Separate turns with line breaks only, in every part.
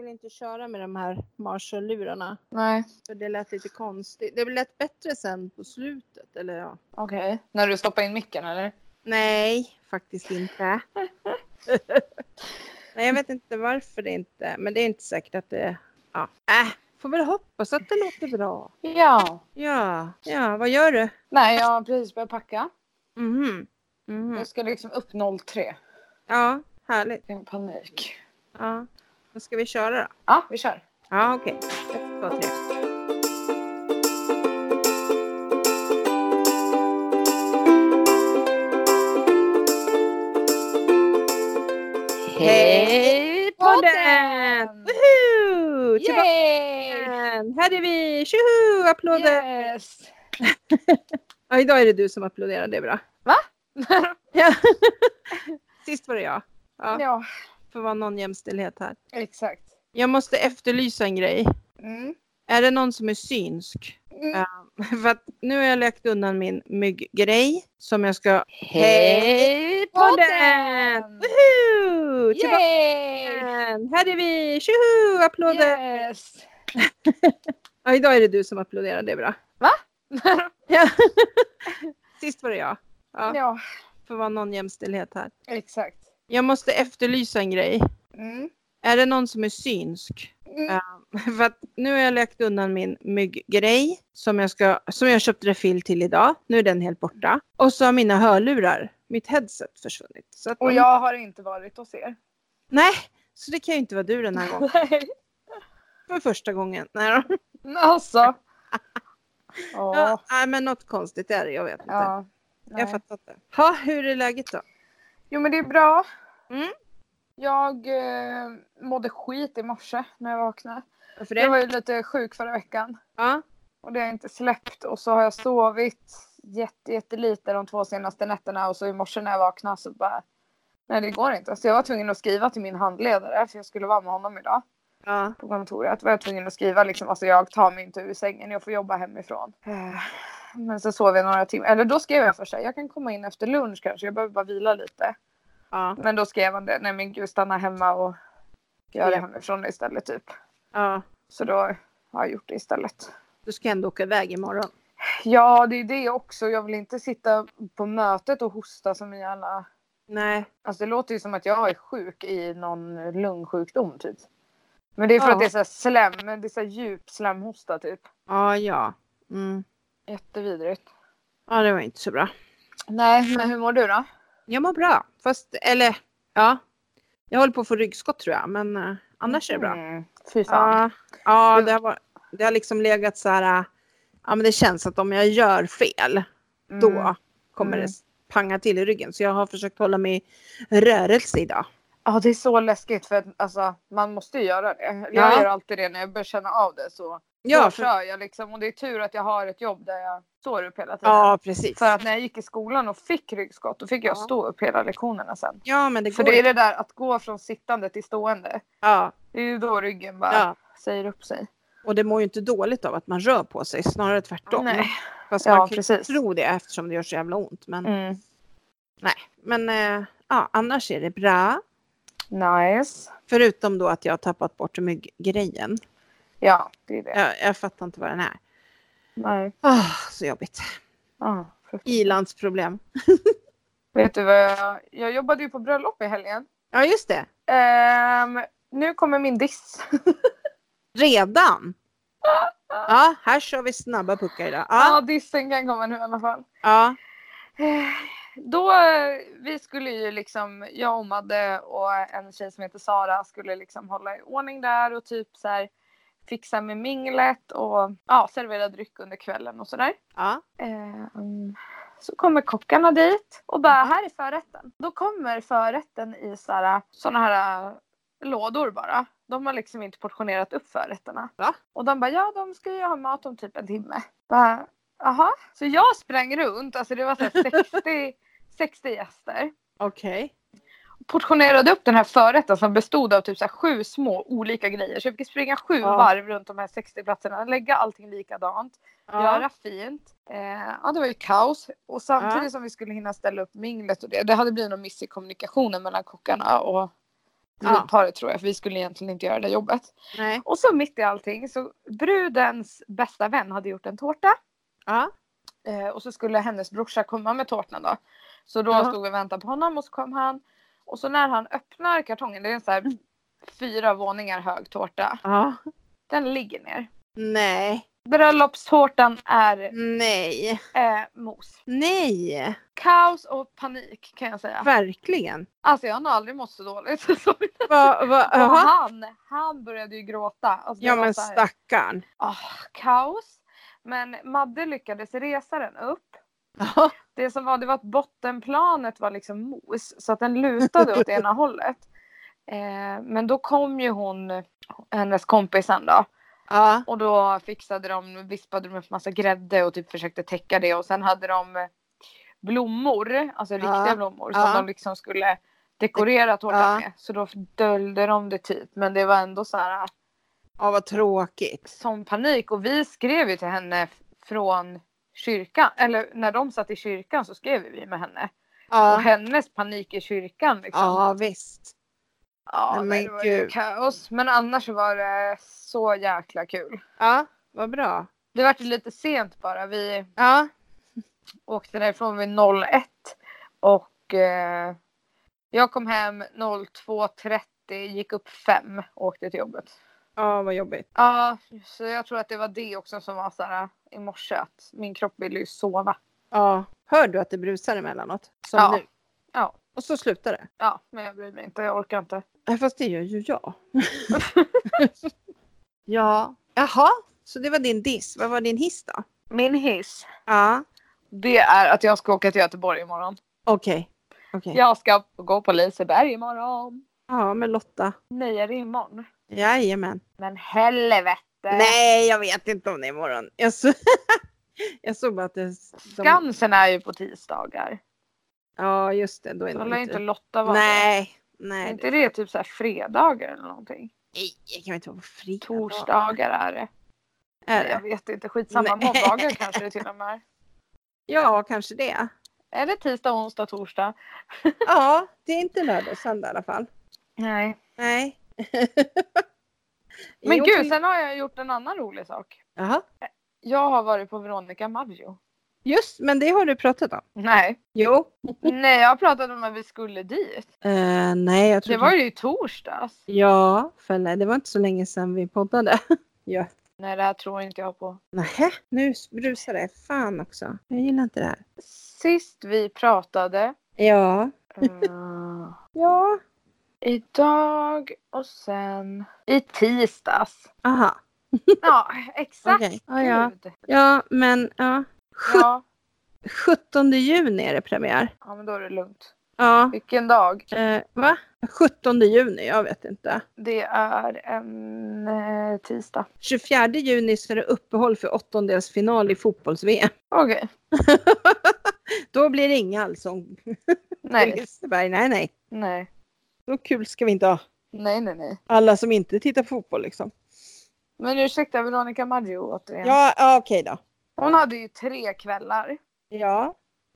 inte köra med de här Marshall-lurarna.
Nej.
För det lät lite konstigt. Det lät bättre sen på slutet. Eller ja.
Okej. När du stoppar in micken eller?
Nej, faktiskt inte. Nej, jag vet inte varför det inte. Men det är inte säkert att det... Ja. Äh, får väl hoppas att det låter bra.
Ja.
Ja, ja, vad gör du?
Nej, jag har precis börjat packa.
Mhm. Mhm.
Jag ska liksom upp 03.
Ja, härligt.
Min panik.
Ja. Då ska vi köra då.
Ja, vi kör.
Ja, okej. Ett, två, tre. Hej podden! Woho! Tillbaka
Yay!
igen! Här är vi! Tjoho! Applåder!
Yes!
Ja, idag är det du som applåderar, det är bra.
Va?
Ja. Sist var det jag. Ja,
Ja,
för att vara någon jämställdhet här.
exakt.
Jag måste efterlysa en grej.
Mm.
Är det någon som är synsk?
Mm.
Ja. För att nu har jag lagt undan min mygggrej som jag ska...
Hej podden!
Woho! Tillbaka
Yay!
igen! Här är vi! Tjoho! Applåder!
Yes!
Ja, idag är det du som applåderar, det är bra.
Va?
Ja. Sist var det jag. Ja,
Ja,
för att vara någon jämställdhet här.
exakt.
Jag måste efterlysa en grej.
Mm.
Är det någon som är synsk?
Mm.
För att nu har jag lagt undan min mygggrej som jag, ska, som jag köpte refill till idag. Nu är den helt borta. Och så har mina hörlurar, mitt headset försvunnit. Så att,
Och jag har inte varit hos er.
Nej, så det kan ju inte vara du den här gången. För första gången. Nej, då.
Alltså. Ja.
ja, nej men något konstigt är det, jag vet inte.
ja.
Jag
Nej.
fattar inte. Ha, hur är läget då?
Jo men det är bra.
Mm.
Jag eh, mådde skit i morse när jag vaknade.
Varför
Jag var ju lite sjuk förra veckan.
Ja.
Och det har jag inte släppt. Och så har jag sovit jätte, jättelite de två senaste nätterna. Och så i morse när jag vaknade så bara. Nej det går inte. Så jag var tvungen att skriva till min handledare. För jag skulle vara med honom idag.
ja.
på kontoret var jag tvungen att skriva liksom, alltså jag tar mig inte ur sängen, jag får jobba hemifrån. Eh, Men så sov jag några timmar, eller då skrev jag för sig, jag kan komma in efter lunch kanske, jag behöver bara vila lite.
Ja.
Men då skrev han det, nej men gud stanna hemma och gör det
Ja.
hemifrån istället typ.
ja.
Så då har jag gjort det istället.
Du ska ändå åka iväg imorgon.
Ja det är det också, jag vill inte sitta på mötet och hosta som i alla...
Nej.
Alltså det låter ju som att jag är sjuk i någon lungsjukdom typ. Men det är för
Ja.
att det är så här slem, det är så här djup slemhosta typ.
Ja, ja. Mm.
Jättevidrigt.
Ja, det var inte så bra.
Nej, men hur mår du då?
Jag mår bra. Fast, eller ja. Jag håller på att få ryggskott tror jag, men eh, annars är det bra.
Mm, fy fan.
Ja, ja det, har var, det har liksom legat så här. eh, Ja, men det känns att om jag gör fel, då
Mm.
kommer
Mm.
det panga till i ryggen. Så jag har försökt hålla mig i rörelse idag.
Ja, det är så läskigt för att alltså, man måste ju göra det. Jag
Ja.
gör alltid det när jag börjar känna av det så
Ja,
då
för,
kör jag liksom. Och det är tur att jag har ett jobb där jag står upp hela tiden.
ja precis.
För att när jag gick i skolan och fick ryggskott då fick jag
Ja.
stå upp hela lektionerna sen.
Ja, men det går
för det är
ju.
det där att gå från sittande till stående.
Ja,
Det är ju då ryggen bara
ja.
säger upp sig.
Och det mår ju inte dåligt av att man rör på sig, snarare tvärtom.
Nej.
Fast
Ja,
man kan ju
precis.
tro det eftersom det gör så jävla ont. Men,
Mm.
men eh, ja, annars är det bra.
Nice.
Förutom då att jag har tappat bort mygggrejen.
Ja, det är det.
Jag, jag fattar inte vad den är.
Nej.
Ah, så jobbigt.
Ah,
Ilandsproblem.
Vet du vad jag... Jag jobbade ju på bröllop i helgen.
Ja, just det.
Ehm, nu kommer min diss.
Redan. Ja, här kör vi snabba puckar idag.
Ja,
Ja,
dissen kan komma nu i alla fall.
ja,
Eh, Då, eh, vi skulle ju liksom, jag och Madde och en tjej som heter Sara skulle liksom hålla i ordning där och typ så här fixa med minglet och ja, servera dryck under kvällen och sådär.
ja.
Ehm, Så kommer kockarna dit och bara här är förrätten. Då kommer förrätten i sådana här äh, lådor bara. De har liksom inte portionerat upp förrätterna.
Va?
Och de bara ja de ska ju ha mat om typ en timme. Bara jaha. Så jag sprang runt, alltså det var så här 60, 60 gäster.
Okej.
Portionerade upp den här förrätten som bestod av typ så här sju små olika grejer. Så jag fick springa sju
Ja.
varv runt de här 60 platserna, lägga allting likadant
Ja.
göra fint. Eh, ja, det var ju kaos. Och samtidigt
Ja.
som vi skulle hinna ställa upp minglet och det. Det hade blivit någon miss i kommunikationen mellan kockarna och
Ja.
Vi tar det tror jag för vi skulle egentligen inte göra det jobbet.
Nej.
Och så mitt i allting så brudens bästa vän hade gjort en tårta.
Ja.
Eh, och så skulle hennes brorsa komma med tårtan då. Så då
Jaha.
stod vi och väntade på honom och så kom han. Och så när han öppnar kartongen, det är en så här
Mm.
fyra våningar hög tårta.
Ja.
Den ligger ner.
Nej.
Bröllopstårtan är
Nej.
eh, mos.
Nej.
Kaos och panik kan jag säga.
Verkligen.
Alltså jag har nog aldrig mått så dåligt. Så,
Va, va,
och
aha.
han, han började ju gråta. Alltså, det
Ja
var
men
så här-
stackarn.
Ah, kaos. Men Madde lyckades resa den upp.
Ja.
Det som var det var att bottenplanet var liksom mos så att den lutade åt ena hållet. Eh, men då kom ju hon, hennes kompis sen då.
Ja.
Och då fixade de, vispade de upp massa grädde och typ försökte täcka det. Och sen hade de eh, blommor, alltså riktiga
Ja.
blommor
Ja.
som de liksom skulle dekorera tårtan
Ja.
med. Så då dolde de det typ. Men det var ändå så här ah,
vad tråkigt.
som panik och vi skrev ju till henne f- från kyrkan, eller när de satt i kyrkan så skrev vi med henne. Och
Ja.
hennes panik i kyrkan liksom.
Ja visst.
Ja,
men
nej, det var ju
gud.
kaos. Men annars så var det så jäkla kul.
Ja. Vad bra.
Det vart ju lite sent bara. Vi
Ja.
åkte därifrån vid 01 och eh, jag kom hem 02.30, gick upp 5 och åkte till jobbet.
Ja vad jobbigt.
Ja, så jag tror att det var det också som var så här eh, i morse att min kropp ville ju sova.
Ja. Hör du att det brusar emellanåt? Som
Ja.
nu.
Ja.
Och så slutar det.
Ja, men jag bryr mig inte. Jag orkar inte.
Nej, Fast det gör ju jag. ja. Jaha. Så det var din diss. Vad var din hiss då?
Min hiss,
Ja.
det är att jag ska åka till Göteborg imorgon.
Okej. Okej.
Jag ska gå på Liseberg imorgon.
Ja, med Lotta.
Nej, är det imorgon?
Jajamän.
Men helvete!
Nej, jag vet inte om det är imorgon. Jag, så... jag såg bara att det... De...
Skansen är ju på tisdagar.
Ja, just det. Då är
Då
det
lär
nog
inte
inte...
Lotta vara där.
Nej.
Är
Nej, det
inte det typ så här fredagar eller någonting?
Nej, det kan inte vara på fredag.
Torsdagar är det.
Är
Jag
det?
vet inte. Skitsamma.
Nej.
Måndagar kanske det till och med är.
Ja, kanske det.
Eller tisdag, onsdag, torsdag.
Ja, det är inte lördag och söndag i alla fall.
Nej.
Nej.
Men
Jo,
gud,
till-
sen har jag gjort en annan rolig sak.
Jaha.
Jag har varit på Veronica Maggio.
Just, men det har du pratat om.
Nej.
Jo.
Nej, jag pratade om att vi skulle dit.
Eh, nej, jag tror
Det var ju i torsdags.
Ja, för nej, det var inte så länge sedan vi poddade. ja.
Nej, det här tror inte jag på.
Nähä, nu brusar det. Fan också. Jag gillar inte det här.
Sist vi pratade.
Ja.
eh,
Ja.
idag och sen i tisdags.
Aha.
Ja, exakt.
Okej. Ja, ja.
Gud.
Ja, men ja. Sjut-
Ja.
17 juni är det premiär.
ja, men då är det lugnt.
Ja.
Vilken dag?
Eh, va? 17 juni, jag vet inte.
Det är en eh, tisdag.
24 juni så är det uppehåll för åttondelsfinal i fotbolls-VM.
Okej.
Då blir det inga allsång på
Nej.
Liseberg. Nej, nej.
Nej.
Så kul ska vi inte ha.
Nej, nej, nej.
Alla som inte tittar på fotboll liksom.
Men ursäkta Veronica Maggio återigen.
Ja, ja okej då.
Hon hade ju tre kvällar.
Ja,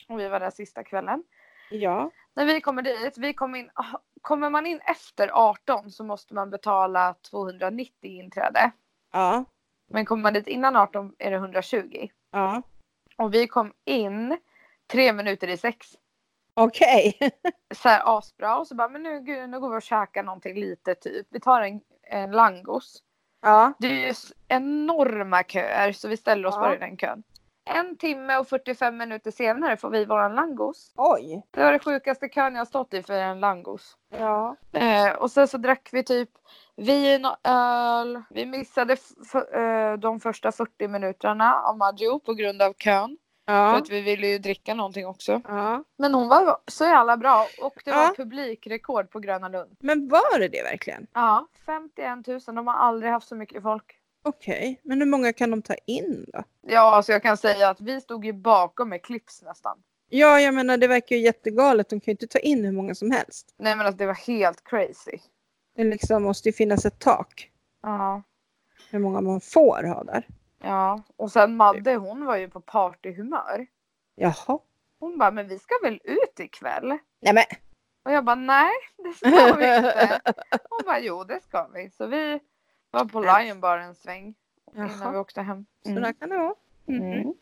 Och vi var där sista kvällen.
ja.
När vi kommer dit, vi kom in, ah, kommer man in efter 18 så måste man betala 290 i inträde.
Ja,
Men kommer man dit innan 18 är det 120.
ja.
Och vi kom in tre minuter i sex.
Okej.
Så här asbra. Och så bara, men nu, gud, nu går vi och käkar någonting lite typ. Vi tar en, en langos.
Ja.
Det är ju s- enorma köer så vi ställer oss
Ja.
bara i den kön. En timme och 45 minuter senare får vi våran langos.
Oj.
Det var det sjukaste kön jag har stått i för en langos.
Ja.
Eh, och sen så drack vi typ vin och öl. Vi missade f- f- eh, de första 40 minuterna av Maggio på grund av kön. För
Ja.
att vi ville ju dricka någonting också.
ja.
Men hon var så jävla bra. Och det var
Ja.
publikrekord på Gröna Lund.
Men var det det verkligen?
Ja, 51 000. De har aldrig haft så mycket folk.
Okej. Men hur många kan de ta in då?
Ja, alltså jag kan säga att vi stod ju bakom Eclipse nästan.
Ja, jag menar det verkar ju jättegalet. De kan ju inte ta in hur många som helst.
Nej men alltså det var helt crazy.
Det liksom måste ju finnas ett tak.
Ja.
Hur många man får ha där.
Ja. Och sen Madde hon var ju på partyhumör.
Jaha.
Hon bara, men vi ska väl ut ikväll?
Nej men.
Och jag bara nej, det ska vi inte. Hon bara jo, det ska vi. Så vi var på Lion Bar en sväng
Jaha.
innan vi åkte hem.
Så där kan det vara.
Mm.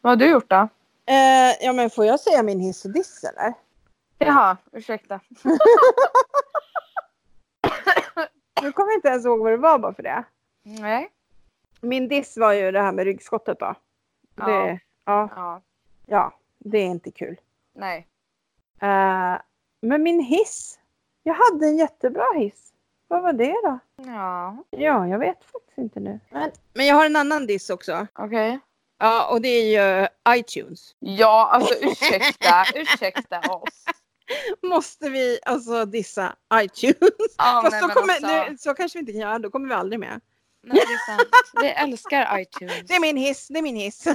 Vad har du gjort då?
Eh, ja men får jag säga min hiss och diss eller?
Jaha, ursäkta.
Nu kommer jag inte ens ihåg vad det var bara för det.
Nej.
Min diss var ju det här med ryggskottet då.
Ja.
Det, ja,
Ja,
ja, det är inte kul.
nej.
Eh, men min hiss. Jag hade en jättebra hiss. Vad var det då?
Ja,
Ja, jag vet faktiskt inte nu. Men, men jag har en annan diss också.
okej.
Ja, och det är ju eh, iTunes.
Ja, alltså ursäkta, ursäkta oss.
Måste vi alltså dissa iTunes?
Ja,
Fast
nej,
då
men
kommer,
alltså,
nu, så kanske vi inte kan göra, då kommer vi aldrig med.
nej, det är sant. Vi älskar iTunes.
Det är min hiss, det är min hiss.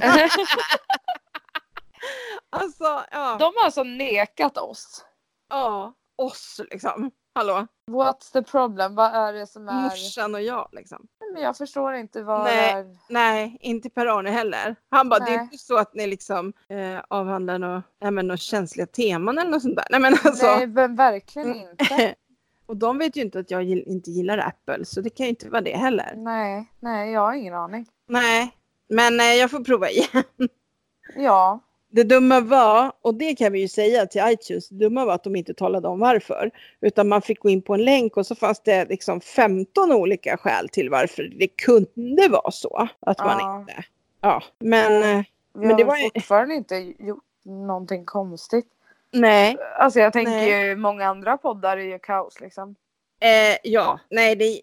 Alltså, ja.
De har alltså nekat oss.
ja. Oss liksom. Hallå?
What's the problem? Vad är det som är...
Morsan och jag liksom.
Men jag förstår inte vad det
Nej.
är.
Nej, inte Per-Arne heller. Han bara, det är
Nej.
inte så att ni liksom eh, avhandlar några nej, men, några känsliga teman eller något sånt där. Nej men alltså. Mm.
Nej, men verkligen inte.
Och de vet ju inte att jag gill- inte gillar Apple så det kan ju inte vara det heller.
Nej, nej, jag har ingen aning.
Nej, men eh, jag får prova igen.
Ja,
Det dumma var, och det kan vi ju säga till iTunes, det dumma var att de inte talade om varför. Utan man fick gå in på en länk och så fanns det liksom 15 olika skäl till varför det kunde vara så. Att man
Ja.
inte... Ja, men eh,
vi
Men
har
det
väl
var ju-
fortfarande inte gjort någonting konstigt.
nej.
Alltså jag tänker
Nej.
ju, många andra poddar är ju kaos liksom.
Eh, ja, nej det...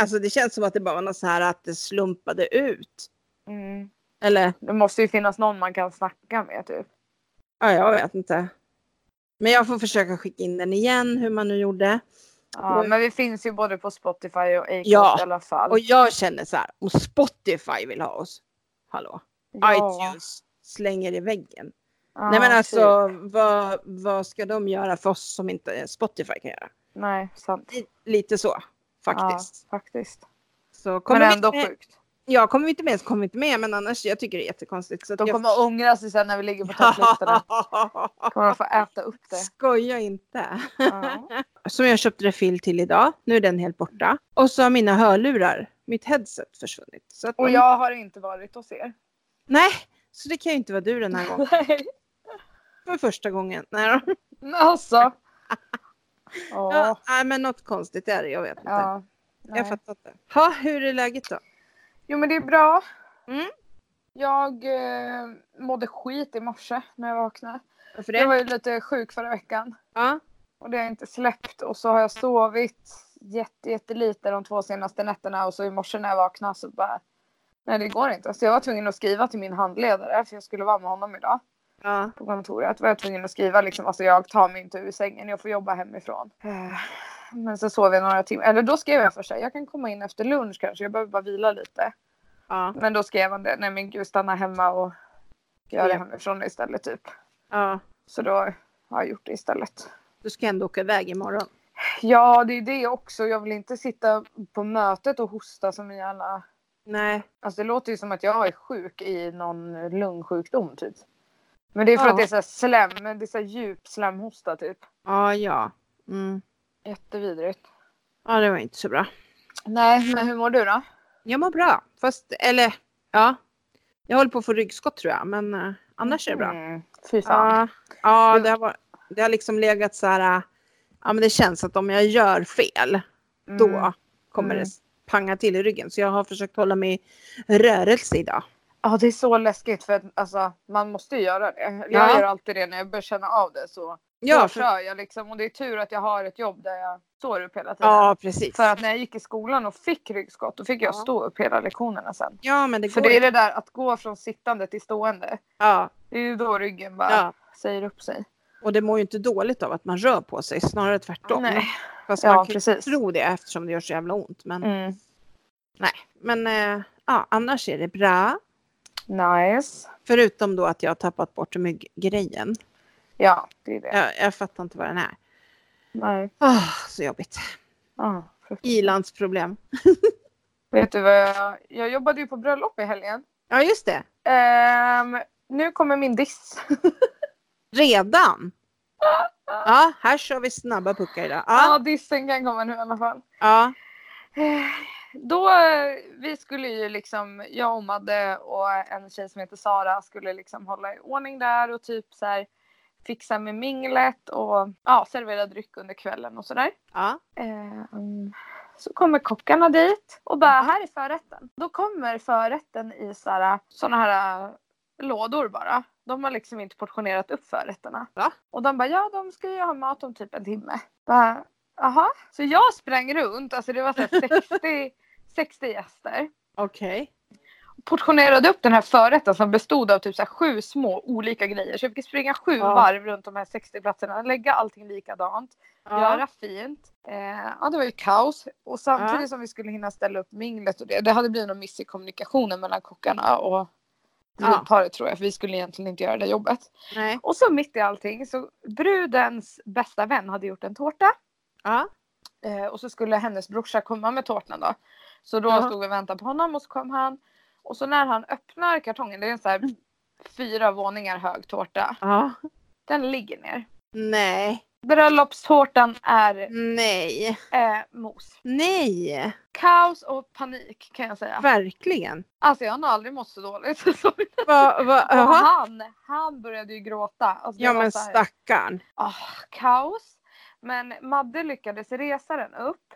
Alltså det känns som att det bara var något så här att det slumpade ut.
Mm.
Eller,
Det måste ju finnas någon man kan snacka med typ.
ja jag vet inte. Men jag får försöka skicka in den igen, hur man nu gjorde.
Ja, men vi finns ju både på Spotify och Acast
Ja.
i alla fall.
Och jag känner så här, om Spotify vill ha oss, hallå?
ja.
iTunes slänger i väggen.
Ja,
Nej men alltså
typ.
vad, vad ska de göra för oss som inte Spotify kan göra?
Nej, sant.
Li- Lite så faktiskt.
Ja, faktiskt.
Så kommer
men
vi
ändå
inte med,
sjukt.
ja, kommer vi inte med så kommer vi inte med men annars jag tycker det är jättekonstigt. Så att
De
jag-
kommer ångra sig sen när vi ligger på toppliftarna. Kommer de få äta upp det.
Skoja inte.
Ja.
Som jag köpte refill till idag. Nu är den helt borta. Och så har mina hörlurar, mitt headset försvunnit. Så att
Och jag har inte varit hos er.
Nej, så det kan ju inte vara du den här gången. För första gången. Nej då.
Alltså. Ja.
Ja, nej, men något konstigt är det, jag vet inte.
ja. Nej.
Jag fattar inte. Ha, hur är läget då?
Jo men det är bra.
Mm.
Jag eh, mådde skit i morse när jag vaknade.
Varför
Jag var ju lite sjuk förra veckan.
Ja.
Och det har jag inte släppt. Och så har jag sovit jätte, jättelite de två senaste nätterna. Och så i morse när jag vaknade så bara. Nej det går inte. Så jag var tvungen att skriva till min handledare. För jag skulle vara med honom idag.
ja.
på kontoret var jag tvungen att skriva liksom, alltså jag tar mig inte ur sängen, jag får jobba hemifrån. Eh, Men sen sov jag några timmar, eller då skrev jag först så här, jag kan komma in efter lunch kanske, jag behöver bara vila lite.
Ja.
Men då skrev han det, nej men gud stanna hemma och gör det hemifrån istället typ.
ja.
Så då har jag gjort det istället.
Du ska ändå åka iväg imorgon.
Ja det är det också, jag vill inte sitta på mötet och hosta som en jävla...
Nej.
Alltså det låter ju som att jag är sjuk i någon lungsjukdom typ. Men det är för
Ja.
att det är så här slem, det är så här djup slemhosta typ.
Ja, ja. Mm.
Jättevidrigt.
Ja, det var inte så bra.
Nej, men hur mår du då?
Jag mår bra. Fast, eller ja. Jag håller på att få ryggskott tror jag, men eh, annars är det bra.
Mm, fy
Ja,
fan.
ja det, har varit, det har liksom legat så här. eh, Ja, men det känns att om jag gör fel,
Mm.
då kommer
Mm.
det panga till i ryggen. Så jag har försökt hålla mig i rörelse idag.
Ja, det är så läskigt för att alltså, man måste ju göra det. Jag
Ja.
gör alltid det när jag börjar känna av det så
Ja,
då
för-
kör jag liksom. Och det är tur att jag har ett jobb där jag står upp hela tiden.
ja precis.
För att när jag gick i skolan och fick ryggskott då fick jag
Ja.
stå upp hela lektionerna sen.
Ja, men det
För
går
det
ju.
är det där att gå från sittande till stående.
Ja,
Det är ju då ryggen bara
ja.
säger upp sig.
Och det mår ju inte dåligt av att man rör på sig, snarare tvärtom.
Nej.
Fast
Ja,
man kan ju
precis.
tro det eftersom det gör så jävla ont. Men,
Mm.
men eh, ja, annars är det bra.
Nice.
Förutom då att jag har tappat bort mygggrejen.
Ja, det är det.
Jag, jag fattar inte vad den är.
Nej.
Ah, så jobbigt.
Ah,
Ilandsproblem.
Vet du vad jag... Jag jobbade ju på bröllop i helgen.
Ja, just det.
Ehm, nu kommer min diss.
Redan? Ja, här kör vi snabba puckar idag.
Ja,
Ja,
dissen kan komma nu i alla fall.
ja.
Eh, Då, eh, vi skulle ju liksom, jag och Madde och en tjej som heter Sara skulle liksom hålla i ordning där och typ så här fixa med minglet och ja, servera dryck under kvällen och sådär.
ja.
Eh, mm, så kommer kockarna dit och bara här är förrätten. Då kommer förrätten i sådana här eh, lådor bara. De har liksom inte portionerat upp förrätterna.
Va?
Och de bara ja de ska ju ha mat om typ en timme. Bara, Jaha. Så jag sprang runt, alltså det var så här 60, 60 gäster.
Okej.
Portionerade upp den här förrätten som bestod av typ så här sju små olika grejer. Så jag fick springa sju
Ja.
varv runt de här 60 platserna, lägga allting likadant
Ja.
göra fint. Eh, ja, det var ju kaos. Och samtidigt som vi skulle hinna ställa upp minglet och det. Det hade blivit någon miss i kommunikationen mellan kockarna och
Ja.
brudparet tror jag. För vi skulle egentligen inte göra det jobbet.
Nej.
Och så mitt i allting så brudens bästa vän hade gjort en tårta.
Ja.
Eh, och så skulle hennes brorsa komma med tårtan då. Så då
Ja.
stod vi och väntade på honom och så kom han. Och så när han öppnar kartongen, det är en så här fyra våningar hög tårta.
Ja.
Den ligger ner.
Nej.
Bröllopstårtan är
Nej.
eh, mos.
Nej.
Kaos och panik kan jag säga.
Verkligen.
Alltså jag har nog aldrig mått så dåligt. Så-
Va, va,
och
aha.
han, han började ju gråta. Alltså, det
Ja
var
men
så här,
stackarn.
ah, kaos. Men Madde lyckades resa den upp.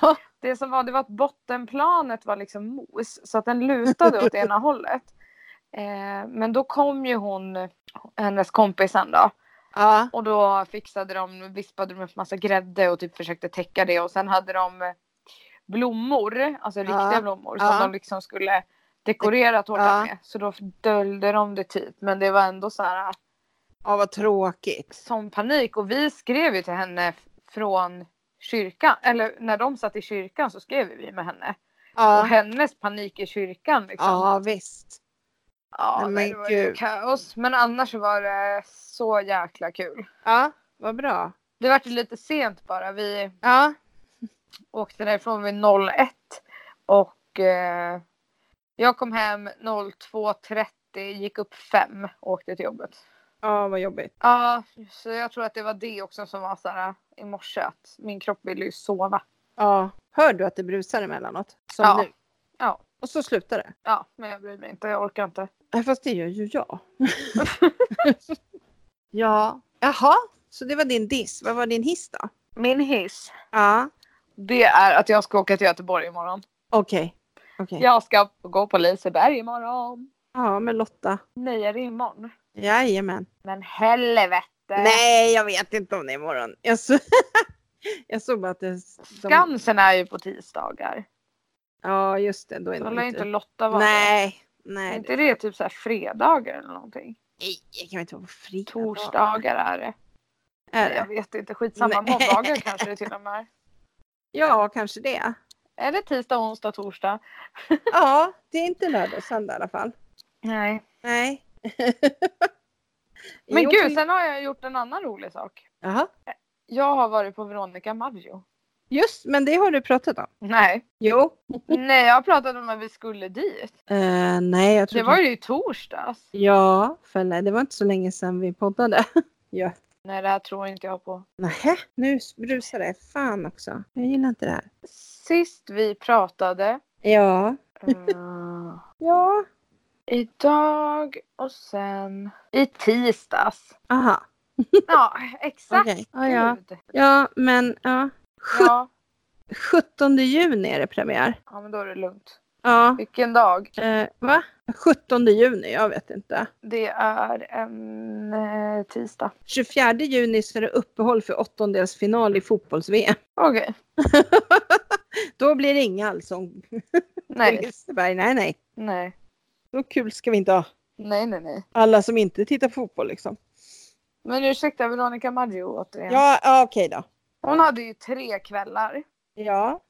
Ja.
Det som var det var att bottenplanet var liksom mos så att den lutade åt ena hållet. Eh, men då kom ju hon, hennes kompis sen då.
Ja.
Och då fixade de, vispade de upp massa grädde och typ försökte täcka det och sen hade de eh, blommor, alltså riktiga
Ja,
blommor
ja.
som de liksom skulle dekorera tårtan
Ja.
med. Så då dolde de det typ men det var ändå så här
ja vad tråkigt.
som panik och vi skrev ju till henne f- från kyrkan, eller när de satt i kyrkan så skrev vi med henne. Och
Ja.
hennes panik i kyrkan liksom.
Ja visst.
Ja,
men
nej, det var ju
gud.
kaos. Men annars så var det så jäkla kul.
Ja. Vad bra.
Det vart ju lite sent bara. Vi
Ja.
åkte därifrån vid 01 och eh, jag kom hem 02.30, gick upp 5 och åkte till jobbet.
Ja vad jobbigt.
Ja, så jag tror att det var det också som var så här eh, i morse att min kropp ville ju sova.
Ja. Hör du att det brusar emellanåt? Som
Ja.
nu.
Ja.
Och så slutar det.
Ja, men jag bryr mig inte, jag orkar inte.
Nej, Äh, Fast det gör ju jag. ja. Jaha. Så det var din diss. Vad var din hiss då?
Min hiss,
Ja.
det är att jag ska åka till Göteborg imorgon.
Okej. Okej.
Jag ska gå på Liseberg imorgon.
Ja men Lotta.
Nej, är det imorgon?
Jajamän.
Men helvete!
Nej jag vet inte om det är imorgon. Jag, så... jag såg bara att det... De...
Skansen är ju på tisdagar.
Ja just det. Då är
Då
det
lär
nog
inte
inte...
Lotta vara med.
Nej.
Är
Nej.
inte det typ så här fredagar eller någonting?
Nej, jag kan inte vara på fredag.
Torsdagar är det.
Är
Jag
det?
vet inte, skitsamma.
Nej.
Måndagar kanske det till och med är.
Ja, kanske det.
Är det tisdag, onsdag, torsdag?
Ja, det är inte lördag och söndag i alla fall.
Nej.
Nej.
Men
Jo,
gud, sen har jag gjort en annan rolig sak.
Jaha.
Jag har varit på Veronica Maggio.
Just, men det har du pratat om.
Nej.
Jo.
Nej, jag pratade om att vi skulle dit.
Eh, nej, jag tror
Det var ju i torsdags.
Ja, för nej, det var inte så länge sedan vi poddade. ja.
Nej, det här tror inte jag på.
Nähä, nu brusar det. Fan också. Jag gillar inte det här.
Sist vi pratade.
Ja.
eh,
Ja.
idag och sen. I tisdags.
Aha.
Ja, exakt.
Okej. Ja, ja.
Gud.
Ja, men ja.
Ja.
17 juni är det premiär.
ja, men då är det lugnt.
Ja.
Vilken dag?
Eh, va? 17 juni, jag vet inte.
Det är en eh, tisdag.
24 juni så är det uppehåll för åttondelsfinal i fotbolls-VM.
Okej.
Då blir det inga allsång på
Nej.
Liseberg. Nej, nej.
nej.
Så kul ska vi inte ha.
Nej, nej, nej.
Alla som inte tittar på fotboll liksom.
Men ursäkta Veronica Maggio återigen.
Ja, ja okej då.
Hon hade ju tre kvällar.
Ja,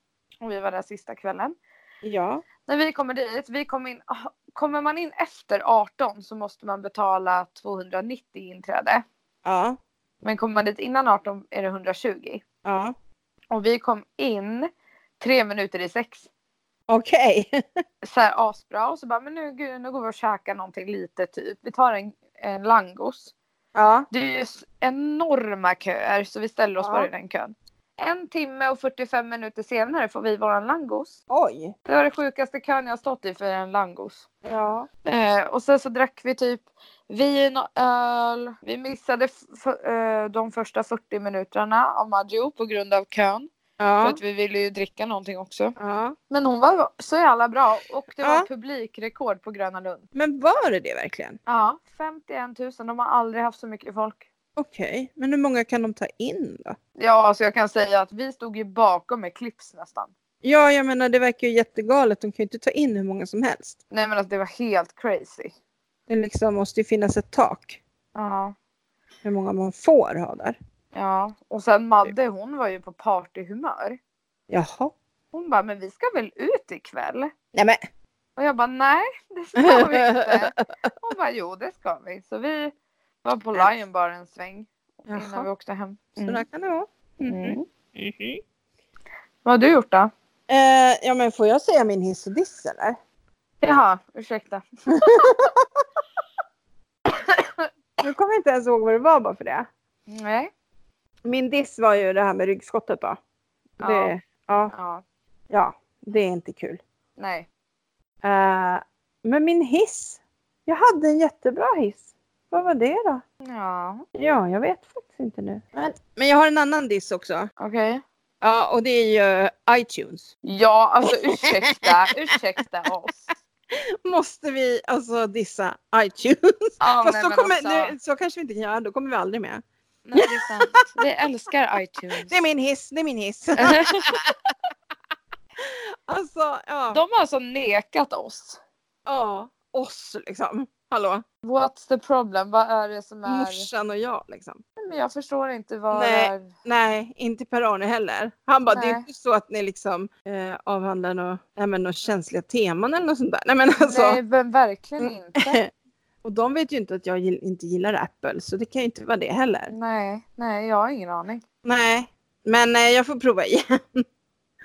Och vi var där sista kvällen.
ja.
När vi kommer dit, vi kom in, ah, kommer man in efter 18 så måste man betala 290 i inträde.
Ja,
Men kommer man dit innan 18 är det 120.
ja.
Och vi kom in tre minuter i sex.
Okej.
Så här asbra. Och så bara, men nu, gud, nu går vi och käkar någonting lite typ. Vi tar en, en langos.
Ja.
Det är ju s- enorma köer så vi ställer oss
Ja.
bara i den kön. En timme och 45 minuter senare får vi våran langos.
Oj.
Det var det sjukaste kön jag har stått i för en langos.
Ja.
Eh, och sen så drack vi typ vin och öl. Vi missade f- f- eh, de första 40 minuterna av Maggio på grund av kön. För
Ja.
att vi ville ju dricka någonting också.
ja.
Men hon var så jävla bra och det var
Ja.
publikrekord på Gröna Lund.
Men var det det verkligen?
Ja, 51 000. De har aldrig haft så mycket folk.
Okej. Men hur många kan de ta in då?
Ja, så jag kan säga att vi stod ju bakom Eclipse nästan.
Ja, jag menar det verkar ju jättegalet. De kan ju inte ta in hur många som helst.
Nej men alltså det var helt crazy.
Det liksom måste ju finnas ett tak.
Ja.
Hur många man får ha där.
Ja. Och sen Madde hon var ju på partyhumör.
Jaha.
Hon bara, men vi ska väl ut ikväll?
Nej men.
Och jag bara, nej det ska vi inte. Hon bara, jo det ska vi. Så vi var på Lion bara en sväng
Jaha.
innan vi åkte hem.
Så där kan det vara.
Mm. Vad har du gjort då?
Eh, ja men får jag säga min hiss och diss eller?
Jaha, ursäkta.
Nu kommer jag inte ens ihåg vad det var bara för det.
Nej.
Min diss var ju det här med ryggskottet då.
Ja.
Det, ja,
Ja.
ja, det är inte kul.
Nej.
Eh, men min hiss. Jag hade en jättebra hiss. Vad var det då?
Ja.
Ja, jag vet faktiskt inte nu. Men, men jag har en annan diss också.
Okej.
Ja, och det är ju iTunes.
Ja, alltså ursäkta. ursäkta oss.
Måste vi alltså dissa iTunes?
Ja,
Fast
nej,
då
men
kommer,
alltså-
nu, så kanske vi inte kan göra, då kommer vi aldrig med.
Nej, det är sant. Vi älskar iTunes.
Det är min hiss, det är min hiss. Alltså, ja.
De har alltså nekat oss.
ja. Oss liksom. Hallå,
What's the problem? Vad är det som är...
morsan och jag liksom.
Men jag förstår inte vad
Nej.
det är.
Nej, inte Per-Arne heller. Han bara, det är
Nej.
inte så att ni liksom eh, avhandlar några nej, men, några känsliga teman eller något sånt där. Nej men alltså.
Nej, men verkligen
Mm.
inte.
Och de vet ju inte att jag gill, inte gillar Apple, så det kan ju inte vara det
Mm.
heller.
Nej, nej, jag har ingen aning.
Nej, men eh, jag får prova igen.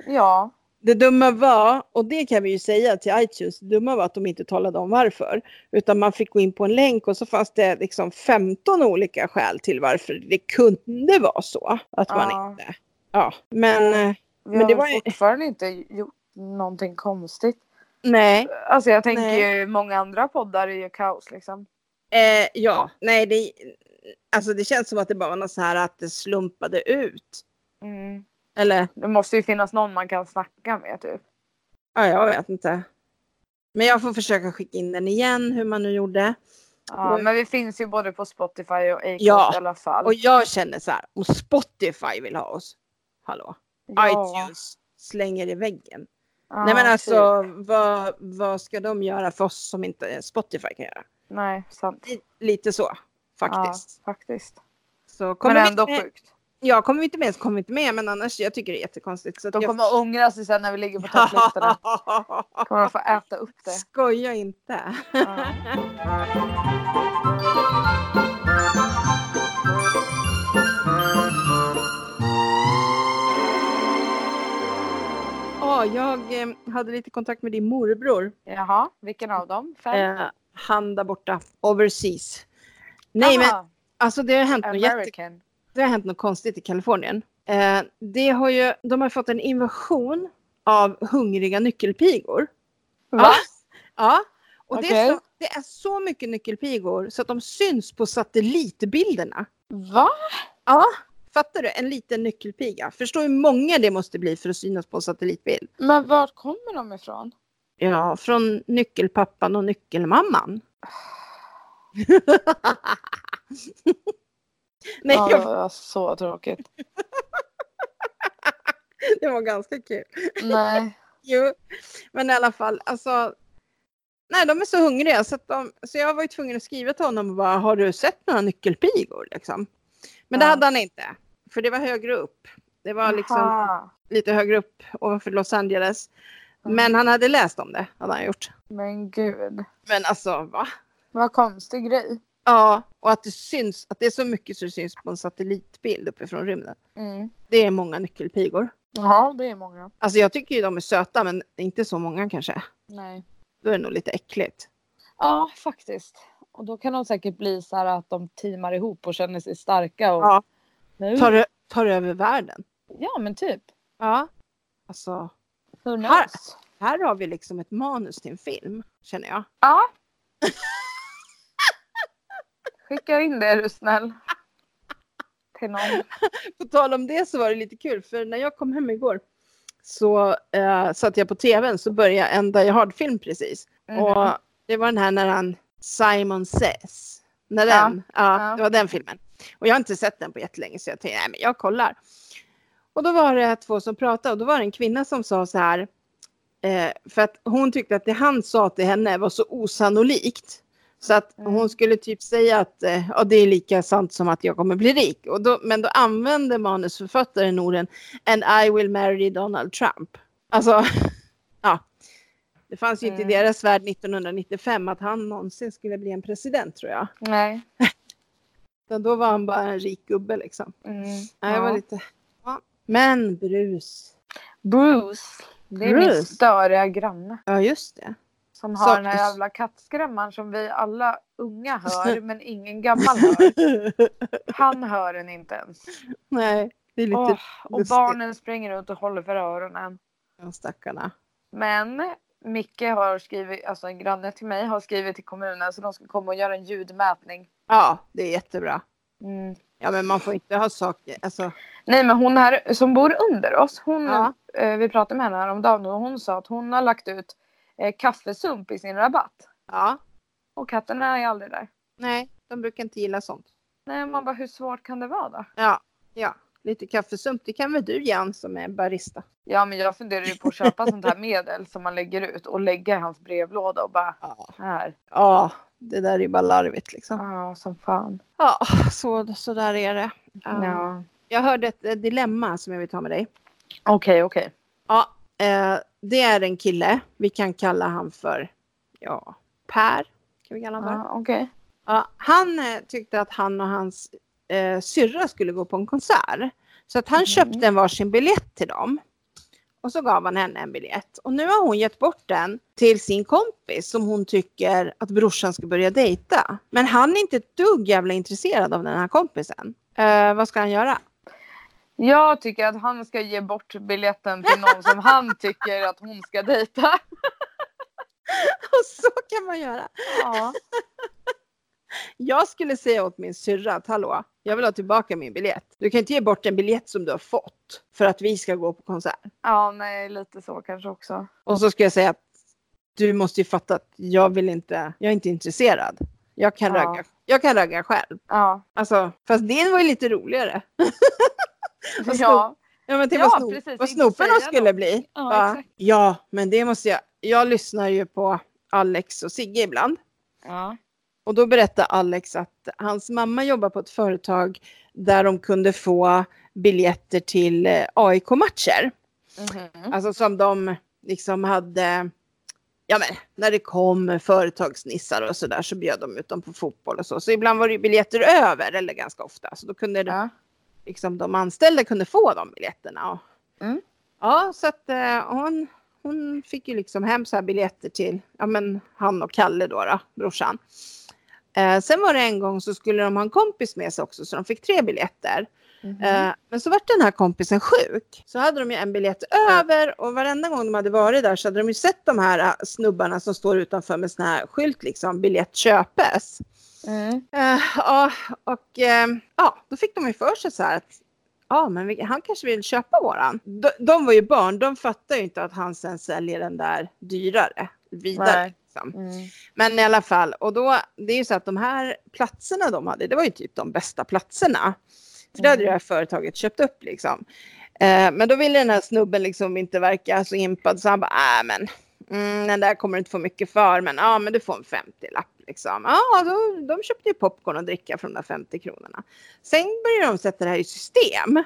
Ja,
Det dumma var, och det kan vi ju säga till iTunes, det dumma var att de inte talade om varför. Utan man fick gå in på en länk och så fanns det liksom 15 olika skäl till varför det kunde vara så. Att
Ja.
man inte... Ja, men... eh,
vi
Men
har
det
väl
var ju-
fortfarande inte gjort någonting konstigt.
Nej.
Alltså jag tänker
Nej.
ju, många andra poddar är ju kaos liksom.
Eh, ja, nej det... Alltså det känns som att det bara var något så här att det slumpade ut.
Mm.
Eller,
Det måste ju finnas någon man kan snacka med typ.
ja jag vet inte. Men jag får försöka skicka in den igen, hur man nu gjorde.
Ja,
Mm.
men vi finns ju både på Spotify och Acast
Ja.
i alla fall.
Och jag känner så här, om Spotify vill ha oss, hallå, iTunes slänger i väggen.
Ja,
Nej men
typ.
alltså vad, vad ska de göra för oss som inte Spotify kan göra?
Nej, sant.
Li- Lite så faktiskt.
Ja, faktiskt.
Så kommer
men
vi
ändå
inte med,
sjukt.
ja, kommer vi inte med så kommer vi inte med men annars jag tycker det är jättekonstigt. Så att
De
jag-
kommer ångra sig sen när vi ligger på topplistorna. Kommer de få äta upp det.
Skoja inte.
Ja.
Ja, jag eh, hade lite kontakt med din morbror.
Jaha, vilken av dem? Fem?
Eh, han där borta, overseas. Nej men
Aha,
alltså det har hänt något jätte
Ah, American.
det har hänt något konstigt i Kalifornien. Eh, det har ju, de har fått en invasion av hungriga nyckelpigor.
Va?
Ja. Och det, är
Okej.
så, det är så mycket nyckelpigor så att de syns på satellitbilderna.
Va?
Ja. Fattar du? En liten nyckelpiga. Förstår hur många det måste bli för att synas på en satellitbild.
Men var kommer de ifrån?
Ja, från nyckelpappan och nyckelmamman. Nej,
ja,
jag,
det var så tråkigt.
det var ganska kul.
Nej.
Jo, men i alla fall. Alltså, nej, de är så hungriga så, att de, så jag var ju tvungen att skriva till honom och bara, har du sett några nyckelpigor? Liksom. Men det
Ja.
hade han inte, för det var högre upp. Det var liksom
Aha.
lite högre upp ovanför Los Angeles. Men han hade läst om det, hade han gjort.
Men gud.
Men alltså, va?
Vad konstig grej.
Ja, och att det syns, att det är så mycket så det syns på en satellitbild uppifrån rymden.
Mm.
Det är många nyckelpigor.
Ja, det är många.
Alltså jag tycker ju de är söta, men inte så många kanske.
Nej.
Då är det nog lite äckligt.
Ja, faktiskt. Och då kan de säkert bli så här att de teamar ihop och känner sig starka. Och...
Ja.
Nu.
Tar, ö- tar över världen.
Ja men typ.
Ja. Alltså,
Who knows?
Här- här har vi liksom ett manus till en film, känner jag.
Ja. Skicka in det är du snäll. Till någon.
På tal om det så var det lite kul för när jag kom hem igår så eh, satt jag på tvn så började en Die Hard-film precis.
Mhm.
Och det var den här när han Simon Says. När
Ja,
den, ja,
ja.
Det var den filmen. Och jag har inte sett den på jättelänge så jag tänkte nej men jag kollar. Och då var det två som pratade och då var det en kvinna som sa så här. Eh, för att hon tyckte att det han sa till henne var så osannolikt. Så att
Mm.
hon skulle typ säga att eh, ja, det är lika sant som att jag kommer bli rik. Och då, men då använde manusförfattaren orden And I will marry Donald Trump. Alltså, ja. Det fanns ju inte i
Mm.
deras värld 1995 att han någonsin skulle bli en president tror jag.
Nej.
Utan då var han bara en rik gubbe liksom.
Mm.
Nej, jag
Ja.
var lite... ja. Men brus.
Bruce. Det är min
Bruce.
störiga granne.
Ja, just det.
Som
Så-
har den här jävla kattskrämman som vi alla unga hör men ingen gammal hör. Han hör den inte ens.
Nej, det är lite
Åh, och
lustigt.
barnen springer runt och håller för öronen.
de stackarna.
Men Micke har skrivit, alltså en granne till mig har skrivit till kommunen så de ska komma och göra en ljudmätning.
Ja, det är jättebra.
Mm.
Ja, men man får inte ha saker. Alltså,
Nej men hon här som bor under oss, hon,
ja.
eh, vi pratade med henne häromdagen och hon sa att hon har lagt ut eh, kaffesump i sin rabatt.
ja.
Och katterna är aldrig där.
Nej, de brukar inte gilla sånt.
Nej man bara hur svårt kan det vara då?
Ja, ja. Lite kaffesump, det kan väl du Jan som är barista?
Ja men jag funderar ju på att köpa sånt här medel som man lägger ut och lägga i hans brevlåda och bara
Ja.
här.
Ja, det där är ju bara larvigt liksom.
Ja som fan.
Ja, så, så där är det. Ja.
Ja.
Jag hörde ett eh, dilemma som jag vill ta med dig.
Okej okej.
Ja, eh, det är en kille. Vi kan kalla han för ja, Per. Kan vi kalla han för. Ja.
Ja, okej.
han eh, tyckte att han och hans eh, syrra skulle gå på en konsert. Så att han
Mhm.
köpte en varsin biljett till dem. Och så gav han henne en biljett. Och nu har hon gett bort den till sin kompis som hon tycker att brorsan ska börja dejta. Men han är inte ett dugg jävla intresserad av den här kompisen. Eh, vad ska han göra?
Jag tycker att han ska ge bort biljetten till någon som han tycker att hon ska dejta.
Och så kan man göra.
Ja.
Jag skulle säga åt min syrra att hallå, jag vill ha tillbaka min biljett. Du kan inte ge bort en biljett som du har fått för att vi ska gå på konsert.
ja, nej lite så kanske också.
Och så ska jag säga att du måste ju fatta att jag vill inte, jag är inte intresserad. Jag kan,
Ja.
ragga, jag kan ragga själv.
Ja,
Alltså, fast din var ju lite roligare. Vad ska-
ja.
Ja men tänk
Ja,
vad, snop,
precis,
vad
inte
snopen hon
säga
skulle bli.
ja
Va?
exakt.
ja, men det måste jag. Jag lyssnar ju på Alex och Sigge ibland.
Ja.
Och då berättade Alex att hans mamma jobbar på ett företag där de kunde få biljetter till eh, AIK-matcher.
Mhm.
Alltså som de liksom hade, ja men när det kom företagsnissar och sådär så bjöd de ut dem på fotboll och så. Så ibland var det ju biljetter över eller ganska ofta. Så då kunde de,
Ja.
liksom, de anställda kunde få de biljetterna. Och,
Mm.
Ja, så att eh, hon, hon fick ju liksom hem så här biljetter till ja, men han och Kalle då, då brorsan. Eh, sen var det en gång så skulle de ha en kompis med sig också så de fick tre biljetter.
Mhm.
Eh, men så vart den här kompisen sjuk. Så hade de ju en biljett över och varenda gång de hade varit där så hade de ju sett de här eh, snubbarna som står utanför med sån här skylt liksom, biljett köpes.
Mm.
Eh, Ja, och eh, ja, då fick de ju för sig så här att ja, men vi, han kanske vill köpa våran. De, de var ju barn, de fattar ju inte att han sen säljer den där dyrare vidare.
Nej.
Liksom.
Mm.
Men i alla fall, och då, det är ju så att de här platserna de hade, det var ju typ de bästa platserna. För det hade det här företaget köpt upp liksom. Eh, men då ville den här snubben liksom inte verka så impad så han bara, äh, men mm, den där kommer du inte få mycket för, men ja, men du får en 50-lapp liksom. Ja, då, de köpte ju popcorn och dricka för de där 50 kronorna. Sen började de sätta det här i system.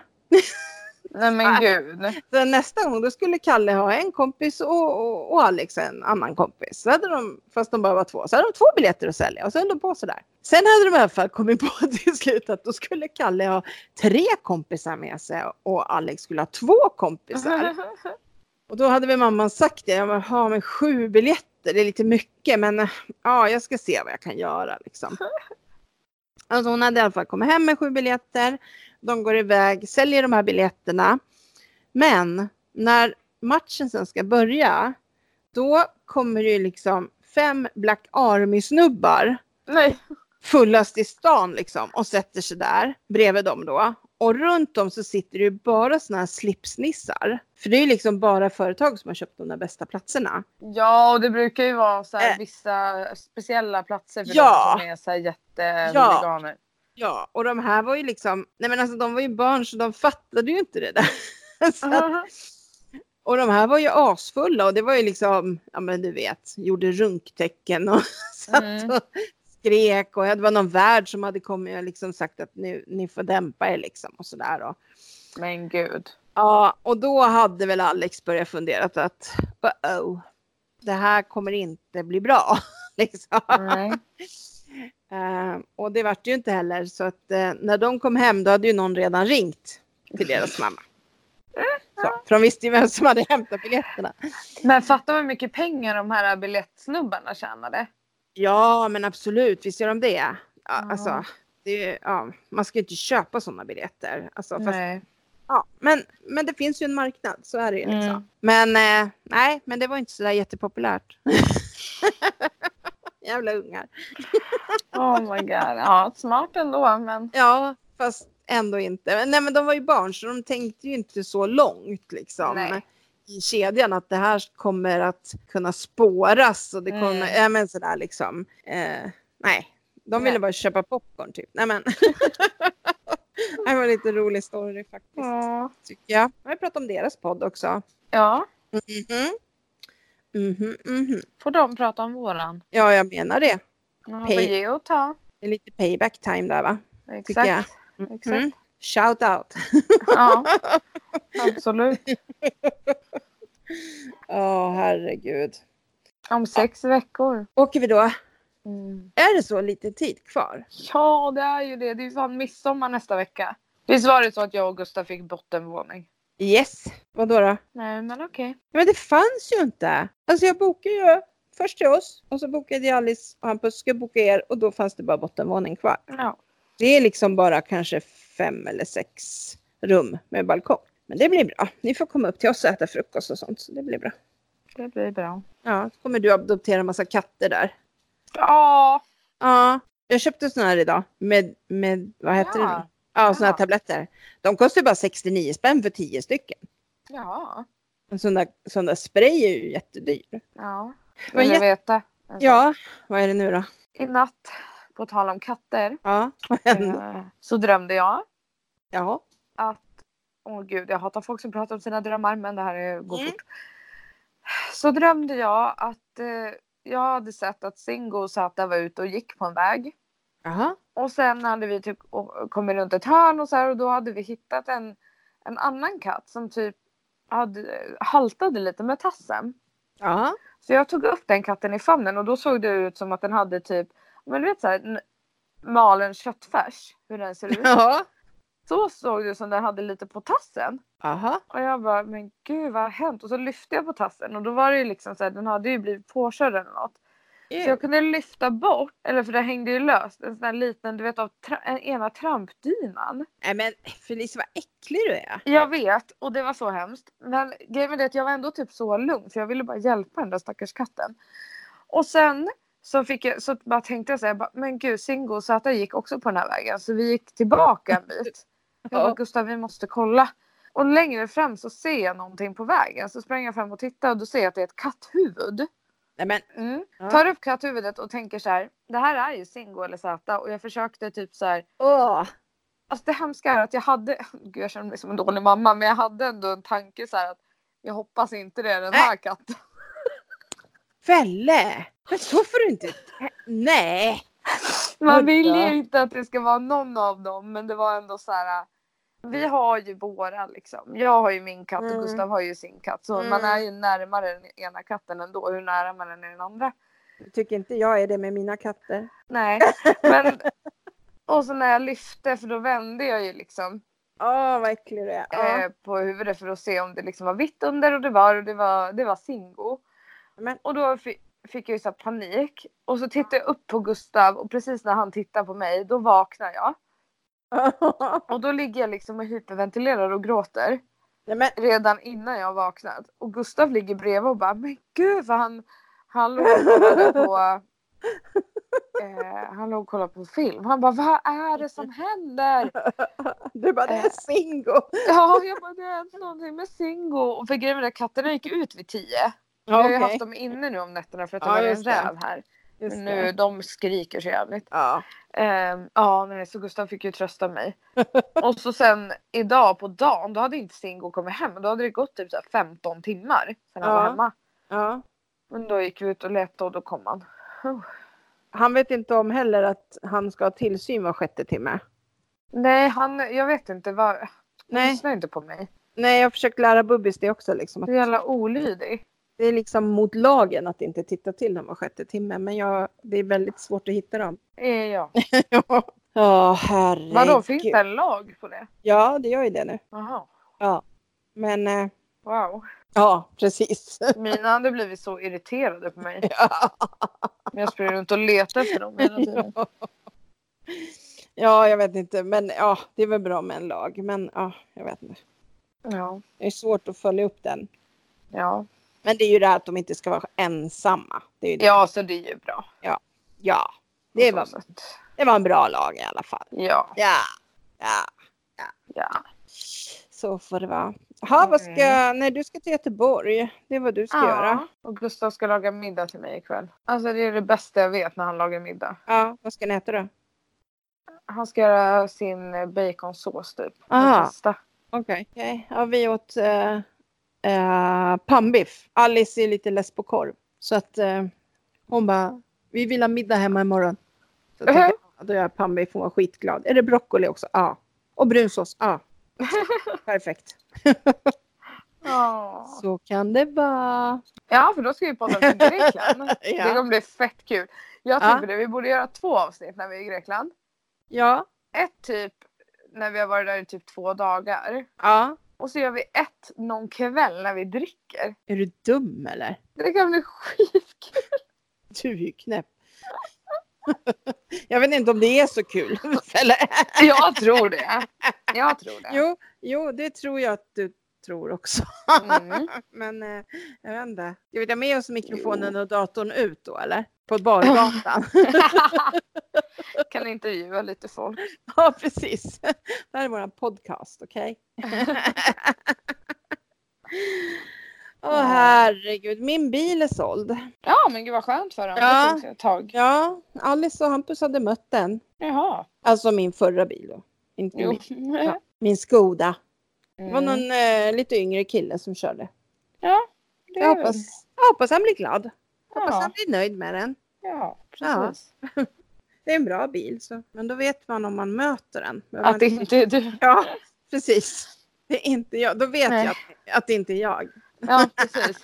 Nej men
Nej.
gud.
Så nästa gång då skulle Kalle ha en kompis och, och, och Alex en annan kompis. Så hade de, fast de bara var två, så hade de två biljetter att sälja och så höll de på sådär. Sen hade de i alla fall kommit på till slut att då skulle Kalle ha tre kompisar med sig och Alex skulle ha två kompisar. Och då hade väl mamman sagt det, jag bara, "Jaha, men sju biljetter minuter, det är lite mycket men eh, ja, jag ska se vad jag kan göra liksom. Alltså hon hade i alla fall kommit hem med sju biljetter. De går iväg, säljer de här biljetterna. Men när matchen sen ska börja, då kommer det ju liksom fem Black Army-snubbar
Nej.
fullast i stan liksom och sätter sig där bredvid dem då. Och runt om så sitter det ju bara såna här slipsnissar. För det är ju liksom bara företag som har köpt de där bästa platserna.
Ja, och det brukar ju vara så här,
Eh.
vissa speciella platser för
Ja.
de som är så här jättehuliganer.
Ja, och de här var ju liksom, nej men alltså de var ju barn så de fattade ju inte det där. så att,
Ja.
och de här var ju asfulla och det var ju liksom, ja men du vet, gjorde runktecken och satt
Mm.
och skrek och det var någon värd som hade kommit och liksom sagt att nu, ni får dämpa er liksom och sådär. Och,
Men gud.
Ja, och då hade väl Alex börjat fundera på att oh, det här kommer inte bli bra. liksom.
Nej.
Eh, och det vart det ju inte heller så att eh, när de kom hem då hade ju någon redan ringt till deras mamma. Mm. Så, för de visste ju vem som hade hämtat biljetterna.
Men fatta hur mycket pengar de här biljettsnubbarna tjänade.
Ja, men absolut, visst gör de det. Ja, Alltså,
Ja.
det är, ju- ja, man ska ju inte köpa sådana biljetter. Alltså, fast
Nej.
Ja, men, men det finns ju en marknad, så är det ju. Liksom.
Mm.
Men eh, nej, men det var inte sådär jättepopulärt. Jävla ungar.
Oh my god. Ja, smart ändå men.
Ja, fast ändå inte. Men, nej, men de var ju barn så de tänkte ju inte så långt liksom.
Nej.
I kedjan att det här kommer att kunna spåras och det kommer,
Mm.
ja men sådär liksom. Eh, nej, de ville
Nej.
bara köpa popcorn typ. Nej men. det var en lite rolig story faktiskt.
Ja.
Tycker jag. Jag har ju pratat om deras podd också.
Ja.
Mhm. Mhm, mhm.
Får de prata om våran?
Ja, jag menar det.
Ja,
Pay-
vad ge och ta.
Det är lite payback time där va? Tycker
Exakt. Exakt.
Mm. Shout out.
Ja. Absolut.
Ja, herregud.
Om sex veckor. Mm.
Åker vi då? Är det så lite tid kvar?
Ja, det är ju det. Det är ju fan midsommar nästa vecka. Visst var det så att jag och Gustav fick bottenvåning?
Yes. Vad då? då?
Nej, men okej.
Ja, men det fanns ju inte. Alltså jag bokade ju först till oss och så bokade jag Alice och Hampus ska boka er och då fanns det bara bottenvåning kvar.
Ja.
Det är liksom bara kanske fem eller sex rum med balkong. Men det blir bra. Ni får komma upp till oss och äta frukost och sånt så det blir bra.
Det blir bra.
Ja, så kommer du adoptera en massa katter där.
Ja.
Ja, jag köpte såna här idag med, med vad heter det? nu?
Ja.
Ja, såna här
Ja.
tabletter. De kostar ju bara 69 spänn för 10 stycken.
Ja.
En sån där, sån där spray är ju jättedyr.
Ja.
Men
Vill du
jätte-
veta? en sak?
Ja, vad är det nu då?
I natt, på tal om katter,
Ja, vad händer?
eh, så drömde jag
Ja.
att... Åh gud, jag hatar folk som pratar om sina drömmar men det här är, går
Mm.
fort. Så drömde jag att eh, jag hade sett att Singo och Zäta var ute och gick på en väg.
Jaha.
Och sen hade vi typ å- kommit runt ett hörn och så här och då hade vi hittat en, en annan katt som typ hade, haltade lite med tassen.
Ja.
Så jag tog upp den katten i famnen och då såg det ut som att den hade typ, men du vet såhär n- malen köttfärs, hur den ser ut.
Ja.
Så såg det ut som den hade lite på tassen.
Aha.
Och jag bara, men gud vad har hänt? Och så lyfte jag på tassen och då var det ju liksom såhär, den hade ju blivit påkörd eller något. Så jag kunde lyfta bort, eller för det hängde ju löst, en sån här liten, du vet av tra- en, ena trampdynan.
Nej men Felicia vad äcklig du är.
Jag vet och det var så hemskt. Men grejen med det är att jag var ändå typ så lugn för jag ville bara hjälpa den där stackars katten. Och sen så, fick jag, så bara tänkte jag så här, jag bara, men gud Singo och Zäta gick också på den här vägen så vi gick tillbaka en bit. Jag bara,
Ja.
Gustav vi måste kolla. Och längre fram så ser jag någonting på vägen så sprang jag fram och tittade och då ser jag att det är ett katthuvud.
Nej men.
Mm.
Ja.
Tar upp katthuvudet och tänker så här, det här är ju Singo eller Zäta och jag försökte typ så här
Åh.
Alltså det hemska är att jag hade, gud jag känner mig som en dålig mamma, men jag hade ändå en tanke så här att jag hoppas inte det är den här katten.
Fälle. Men så får du inte. Nej.
Man
Udda.
vill ju inte att det ska vara någon av dem, men det var ändå så här. äh, Vi har ju våra liksom. Jag har ju min katt
Mm.
och Gustav har ju sin katt. Så
Mm.
man är ju närmare den ena katten ändå, hur nära man än är den andra.
Tycker inte jag är det med mina katter.
Nej, men. Och så när jag lyfte, för då vände jag ju liksom.
Åh vad äcklig du är. Ja.
eh, på huvudet för att se om det liksom var vitt under och det var och det var, det var Singo.
Men-
Och då fi- fick jag ju så här panik. Och så tittade jag upp på Gustav och precis när han tittar på mig då vaknar jag. Och då ligger jag liksom och hyperventilerar och gråter.
Nej, men,
redan innan jag vaknat. Och Gustav ligger bredvid och bara men gud vad han, han låg och kollade på eh, han låg och kollade på film. Han bara vad är det som händer?
du bara, det är
Eh.
Singo.
Ja jag bara det är någonting med Singo. Och för grejen med det, katterna gick ut vid tio. Jag har
Ja,
ju
okej.
haft dem inne nu om nätterna för att det
Ja,
var en
just det.
räv här.
Just
Men
det.
nu de skriker så jävligt.
Ja.
Ehm, ja, nej, så Gustav fick ju trösta mig. och så sen idag på dagen, då hade inte Singo kommit hem. Då hade det gått typ så här 15 timmar sen han
Ja.
var hemma.
ja.
Men då gick vi ut och letade och då kom han.
Han vet inte om heller att han ska ha tillsyn var sjätte timme.
Nej, han, jag vet inte. Var, han
Nej,
lyssnar inte på mig.
nej jag har försökt lära Bubbis det också. Liksom,
Så
att
jävla olydig.
det är liksom mot lagen att inte titta till dem var sjätte timme. Men jag, det är väldigt svårt att hitta dem.
Eh, ja.
Ja, oh, herregud.
Vadå, finns det en lag på det?
Ja, det gör ju det nu.
Jaha.
Men eh,
Wow.
ja, precis.
Mina hade blivit så irriterade på mig. Men jag sprang runt och letade efter dem hela tiden.
ja, jag vet inte. Men ja, det är väl bra med en lag. Men ja, jag vet inte.
Ja.
Det är svårt att följa upp den.
Ja.
Men det är ju det här att de inte ska vara ensamma. Det är ju det.
ja, så det är ju bra.
Ja, det
På
var,
så sätt.
det var en bra lag i alla fall.
Ja.
Ja, ja.
Ja.
Så får det vara. Ha, vad ska,
Mm.
nej, du ska till Göteborg. Det är vad du ska
ja.
göra.
Och Gustav ska laga middag till mig ikväll. Alltså det är det bästa jag vet när han lagar middag.
Ja, vad ska ni äta då?
Han ska göra sin eh, baconsås typ.
Ah.
Och testa.
Okej. Ja, vi åt eh, eh, pannbiff. Alice är lite less på korv. Så att eh, hon bara, vi vill ha middag hemma imorgon. Så jag tänkte,
Uh-huh.
ja, då gör jag pannbiff, hon var skitglad. Är det broccoli också? Ja. Och brunsås? Ja. Perfekt.
Ja.
Så kan det vara.
Ja, för då ska vi podda om Grekland. Det kommer bli fett kul. Jag
Ja.
tycker det, vi borde göra två avsnitt när vi är i Grekland.
Ja.
Ett typ när vi har varit där i typ två dagar.
ja.
Och så gör vi ett någon kväll när vi dricker.
Är du dum eller?
Det kan bli skitkul.
Du är ju knäpp. jag vet inte om det är så kul. eller?
Jag tror det. Jag tror det.
Jo, jo, det tror jag att du tror också.
Mm.
Men eh, jag vet inte. Ska vi ta med oss mikrofonen och datorn ut då eller? På bargatan?
kan intervjua lite folk.
ja precis. Det här är våran podcast, okej? Åh
Ja.
herregud, min bil är såld.
Ja men gud vad skönt för dem.
Ja.
Det tog sig ett tag.
Ja, Alice och Hampus hade mött den.
Jaha.
Alltså min förra bil då. Inte
Jo.
min, min Skoda. Mm. Det var
Mm.
någon eh, lite yngre kille som körde.
Ja. Det
Jag
är väl-
hoppas, jag hoppas han blir glad. Hoppas
Ja.
han blir nöjd med den.
ja precis.
Det är en bra bil, så. men då vet man om man möter den. Men
Att
man-
det inte är du.
Ja, precis. Det är inte jag. Då vet
Nej.
jag att, att det inte är jag.
Ja precis.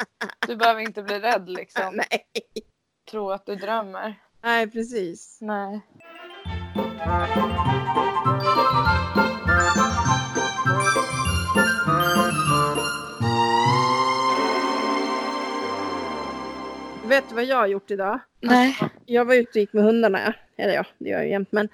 Du behöver inte bli rädd liksom.
Nej.
Tro att du drömmer.
Nej, precis.
Nej.
Vet du vad jag har gjort idag?
Nej.
Jag var ute och gick med hundarna. Eller ja, det gör jag ju jämt. Men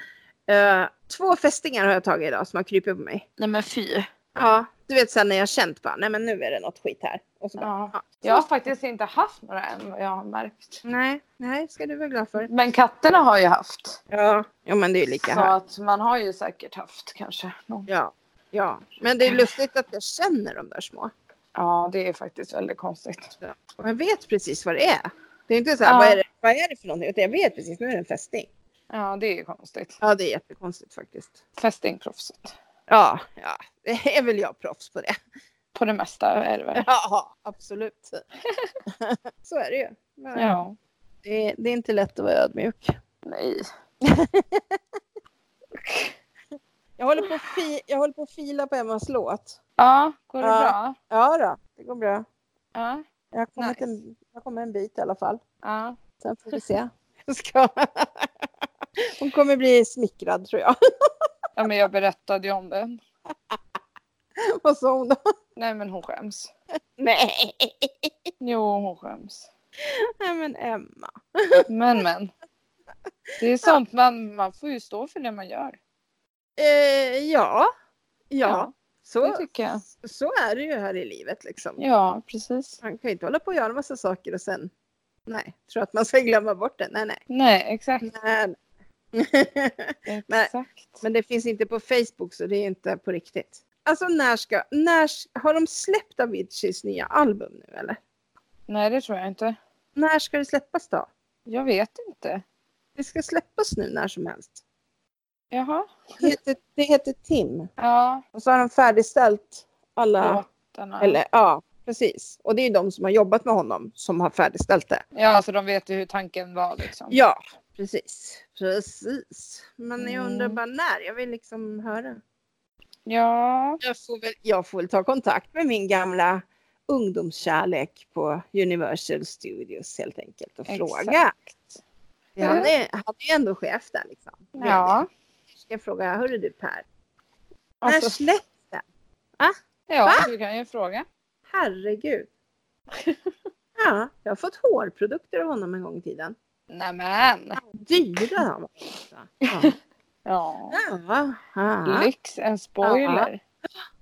eh, två fästingar har jag tagit idag som har krypit på mig.
Nej men fy.
Ja, du vet sen när jag har känt bara, nej men nu är det något skit här. Och så bara,
Ja.
ja.
Jag har faktiskt inte haft några än vad jag har märkt.
Nej, nej, ska du vara glad för.
Men katterna har ju haft.
Ja, ja men det är ju lika
så
här.
att man har ju säkert haft kanske. Någon.
Ja, ja, men det är lustigt att jag känner de där små.
Ja det är faktiskt väldigt konstigt.
Och jag vet precis vad det är. Det är inte så här,
Ja.
vad, är det, vad är det för någonting? Utan jag vet precis, nu är det en fästing.
Ja det är ju konstigt.
Ja, det är jättekonstigt faktiskt.
Fästingproffset.
Ja, ja, det är väl jag proffs på det.
På det mesta är det väl.
Ja, absolut. så är det ju. Men
Ja.
Det, det är inte lätt att vara ödmjuk.
Nej.
Jag håller på, att fi, jag håller på att fila på Emmas låt.
Ja, går det
Ja.
bra?
Ja då, det går bra.
Ja.
Jag har kommit,
Nice.
en, jag har kommit en bit i alla fall.
ja.
Sen får vi se. Jag Ska. Hon kommer bli smickrad tror jag.
Ja men jag berättade ju om den.
Vad sa hon då?
Nej men hon skäms.
Nej.
Jo hon skäms.
Nej men Emma.
Men men. Det är sånt man, man får ju stå för det man gör.
Eh, ja. Ja.
Det
Så,
tycker jag.
så är det ju här i livet liksom.
Ja, precis.
Man kan ju inte hålla på och göra massa saker och sen nej, tro att man ska glömma bort det. Nej, nej.
Nej, exakt.
nej.
Exakt.
Men det finns inte på Facebook så det är inte på riktigt. Alltså när ska, när, har de släppt Aviciis nya album nu eller?
Nej, det tror jag inte.
När ska det släppas då?
Jag vet inte.
Det ska släppas nu när som helst.
Jaha.
Det heter, det heter Tim.
Ja,
Och så har de färdigställt alla,
låtarna.
eller ja, precis. Och det är ju de som har jobbat med honom som har färdigställt det.
Ja, så de vet ju hur tanken var liksom.
Ja, precis. Precis. Men jag
Mm.
undrar bara när. Jag vill liksom höra.
Ja,
Jag får väl, jag får väl ta kontakt med min gamla ungdomskärlek på Universal Studios helt enkelt och
Exakt.
fråga.
Ja.
Han är, han är ändå chef där liksom.
ja.
Jag ska fråga, hörru du Per, när
Alltså,
släpps
ja, du kan ju fråga.
Herregud. ja, jag har fått hårprodukter av honom en gång i tiden.
Nämen.
Dyra han var. Ja.
Ja.
Ja. ja.
Lyx, en spoiler.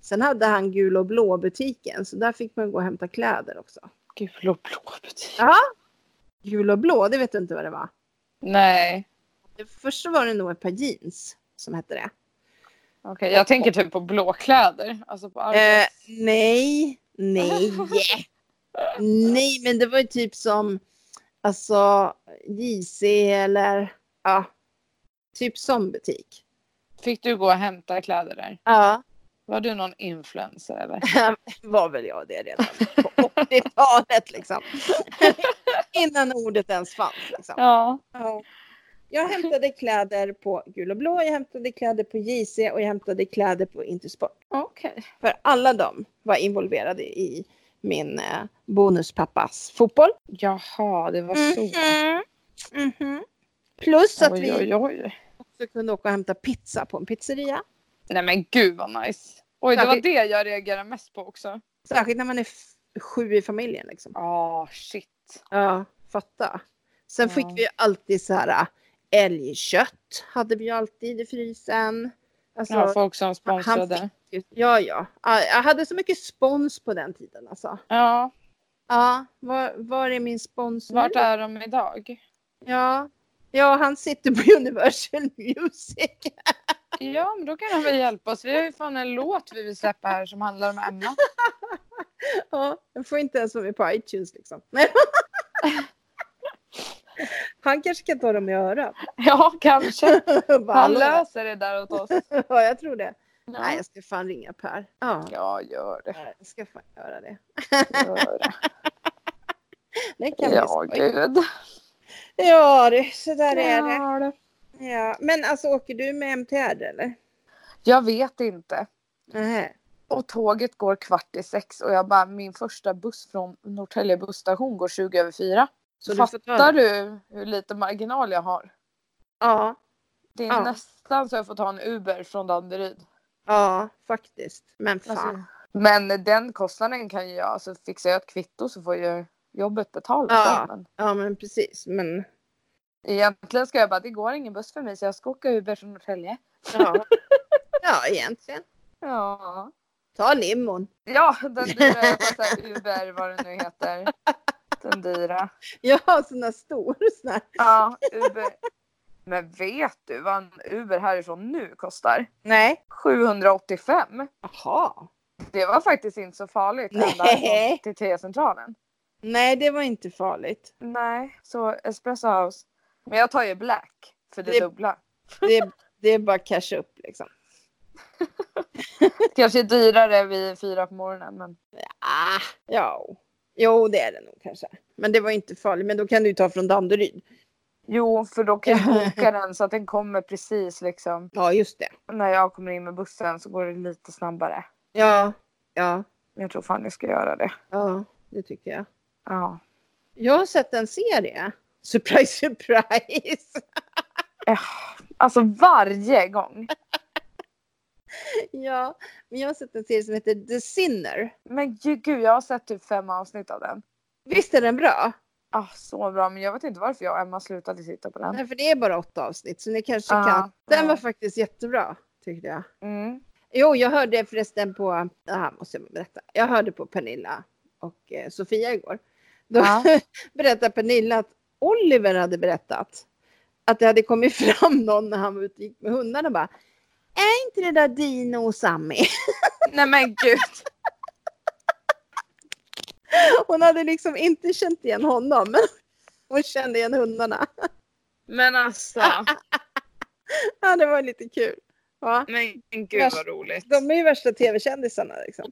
Sen hade han gul och blå butiken så där fick man gå och hämta kläder också.
Gul och blå butik.
Ja. Gul och blå, det vet du inte vad det var.
Nej.
Det första var det nog ett par jeans som hette det.
Okej, jag tänker typ på blåkläder. Alltså på
Eh,
Arlas.
nej, nej. nej, men det var ju typ som alltså JC eller ja, typ som butik.
Fick du gå och hämta kläder där?
Ja,
Var du någon influencer eller?
var väl jag det redan på 80-talet liksom. Innan ordet ens fanns liksom.
Ja.
Ja. Jag hämtade kläder på gul och blå, jag hämtade kläder på JC och jag hämtade kläder på Intersport.
Okej.
För alla de var involverade i min eh, bonuspappas fotboll.
Jaha, det var så.
Mhm. Plus Mm. att
Oj,
vi
oj, oj.
också kunde åka och hämta pizza på en pizzeria.
Nej men gud vad nice. Oj, det
Ja,
var
vi-
det jag reagerade mest på också.
Särskilt när man är f- sju i familjen liksom.
Ja, Ah, shit.
Ja, fatta. Sen
Ja.
fick vi ju alltid så här äh, älgkött hade vi ju alltid i frysen. Alltså,
Ja, folk som
han fick-
sponsrade.
ja, ja. Ja, Jag hade så mycket spons på den tiden alltså.
Ja,
Ja, var, var är min spons nu?
vart är de idag?
Ja. ja, han sitter på Universal Music.
Ja, men då kan de väl hjälpa oss. Vi har ju fan en låt vi vill släppa här som handlar om Emma.
Ja, jag får inte ens vara med på iTunes liksom. Nej. Han kanske kan ta dem i örat.
Ja, kanske.
Bara,
Han
"Hallå?"
löser det där åt oss.
Ja, jag tror det. Nej,
Ja,
jag ska fan ringa Per. Ja,
ja gör det.
jag ska fan göra det.
Gör det.
Det kan bli
Ja,
skoj.
gud.
Ja, du, så där är det.
Ja, det.
Ja. Men alltså, åker du med MTR eller?
Jag vet inte.
Nej.
Och tåget går kvart i sex och jag bara, min första buss från Norrtälje busstation går 20 över fyra.
Så du får ta den?
Fattar du hur lite marginal jag har?
Ja,
Det är
Ja.
nästan så jag får ta en Uber från Danderyd.
ja, faktiskt. Men fan.
Alltså, men den kostnaden kan ju jag, alltså fixar jag ett kvitto så får ju jobbet betala
Ja.
det. Men
Ja, men precis. Men
egentligen ska jag bara, det går ingen buss för mig så jag ska åka Uber från Norrtälje.
ja, ja egentligen.
Ja.
Ta limon.
Ja, den dyra, jag bara så här, Uber vad det nu heter. Den dyra.
Jag har såna stora såna här.
Ja, Uber. Men vet du vad en Uber härifrån nu kostar?
Nej.
785.
Jaha.
Det var faktiskt inte så farligt ända
Nej.
härifrån till T-centralen.
Nej, det var inte farligt.
Nej, så espresso house. Men jag tar ju black för det,
Det-
dubbla.
Det, det är bara cash upp liksom.
Kanske dyrare vid fyra på morgonen men
Ah, ja. Jo, det är det nog kanske. Men det var inte farligt. Men då kan du ta från Danderyd.
jo för då kan jag boka den så att den kommer precis liksom
Ja, just det.
när jag kommer in med bussen så går det lite snabbare.
Ja. Ja.
Jag tror fan jag ska göra det.
Ja, det tycker jag.
Ja.
Jag har sett en serie. Surprise, surprise.
Eh, Alltså varje gång.
ja, men jag har sett en serie som heter The Sinner.
Men ju- gud jag har sett typ fem avsnitt av den.
Visst är den bra?
Ah, så bra, men jag vet inte varför jag och Emma slutade titta på den.
Nej, för det är bara åtta avsnitt så ni kanske
Ja,
kan. Den
ja.
var faktiskt jättebra tyckte jag.
Mm.
Jo, jag hörde förresten på, det här måste jag berätta. Jag hörde på Pernilla och eh, Sofia igår. Då
Ja.
berättade Pernilla att Oliver hade berättat att det hade kommit fram någon när han var ute och gick med hundarna och bara är inte det där Dino och Sammy?
Nej men gud.
Hon hade liksom inte känt igen honom. Men hon kände igen hundarna.
Men alltså.
Ja, det var lite kul. Ja.
Men gud vad roligt.
De är ju värsta tv-kändisarna liksom.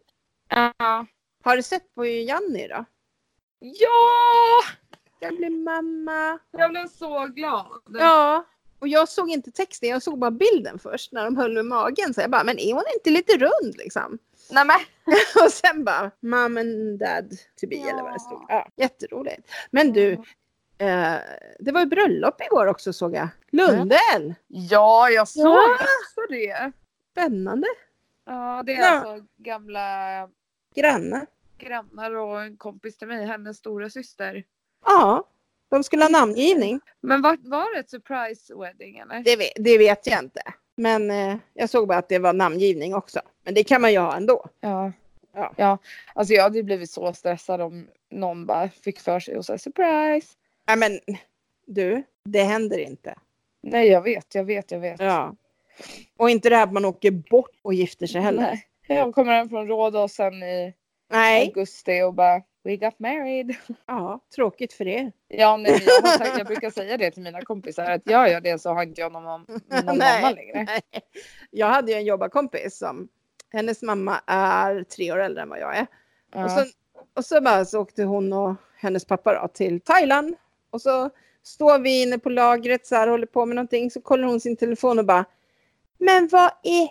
Ja.
Har du sett på Janni då?
ja!
Jag blir mamma.
Jag blev så glad.
Ja. Och jag såg inte texten, jag såg bara bilden först när de höll med magen. Så jag bara, men är hon inte lite rund liksom?
Nej men.
Och sen bara, mom and dad to be eller vad det stod. Ja, jätteroligt. Men du, eh, det var ju bröllop igår också såg jag. Lundell!
Ja, jag såg
Ja.
också det.
Spännande.
Ja, det är
Ja.
alltså gamla
Grannar.
grannar och en kompis till mig, hennes stora syster.
Ja, de skulle ha namngivning.
Men var, var det ett surprise wedding eller?
Det vet, det vet jag inte. Men eh, jag såg bara att det var namngivning också. Men det kan man ju ha ändå. Ja.
Ja. Ja. ja, alltså jag hade ju blivit så stressad om någon bara fick för sig och sa surprise.
Nej men du, det händer inte.
Nej, jag vet, jag vet, jag vet.
Ja. Och inte det här att man åker bort och gifter sig heller.
Nej. Jag kommer hem från Rhodosen i
Nej.
augusti och bara We got married.
Ja, tråkigt för er.
Ja, nej, men jag, har sagt, jag brukar säga det till mina kompisar att gör jag det så har inte jag någon, mam- någon
Nej.
mamma längre.
Jag hade ju en jobbarkompis som, hennes mamma är tre år äldre än vad jag är.
Ja.
Och, sen, och så bara så åkte hon och hennes pappa då, till Thailand. Och så står vi inne på lagret så här håller på med någonting. Så kollar hon sin telefon och bara. Men vad i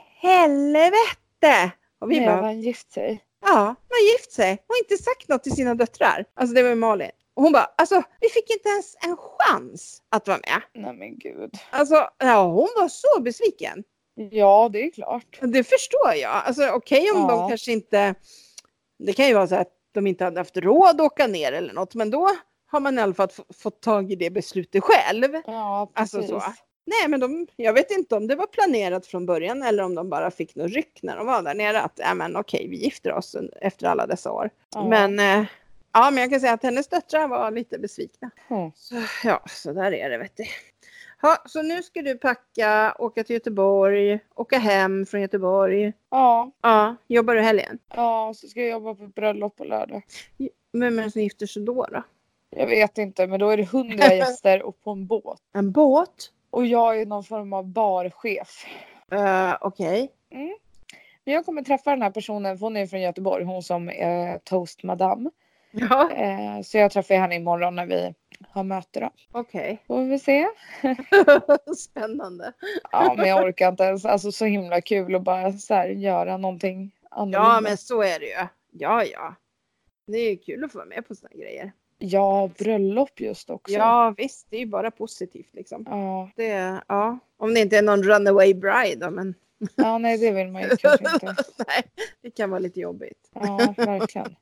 helvete? Och vi
Men
bara.
jag var gift sig.
Ja, hon har gift sig och inte sagt något till sina döttrar. Alltså det var ju Malin. Och hon bara, alltså vi fick inte ens en chans att vara med.
Nej men gud.
Alltså ja, hon var så besviken.
Ja, det är klart.
Det förstår jag. Alltså okej om
Ja.
de kanske inte, det kan ju vara så att de inte hade haft råd att åka ner eller något, men då har man i alla fall f- fått tag i det beslutet själv.
Ja,
Alltså,
precis.
så. Nej, men de, jag vet inte om det var planerat från början eller om de bara fick något ryck när de var där nere att, ja men okej, vi gifter oss efter alla dessa år.
Ja.
Men, eh, ja, men jag kan säga att hennes döttrar var lite besvikna.
Mm.
Så, ja, så där är det vet du. Ha, så nu ska du packa, åka till Göteborg, åka hem från Göteborg.
Ja,
Ja, jobbar du helgen?
ja, och så ska jag jobba på ett bröllop på lördag.
Vem är det som gifter sig då? då?
Jag vet inte, men då är det hundra gäster och på en båt.
En båt?
Och jag är någon form av barchef.
Uh, Okej.
Men jag kommer träffa den här personen, för hon är från Göteborg, hon som är toastmadam.
Ja,
Eh, så jag träffar henne imorgon när vi har möte då.
okej.
Får vi se.
Spännande.
Ja, men jag orkar inte ens. Alltså så himla kul att bara så här, göra någonting annorlunda.
Ja, men så är det ju. Ja, ja. Det är ju kul att få vara med på sådana grejer.
ja, bröllop just också.
Ja, visst. Det är ju bara positivt liksom.
Ja,
Det, ja. Om det inte är någon runaway bride då, men
ja nej det vill man ju kanske inte.
nej, det kan vara lite jobbigt.
Ja, verkligen.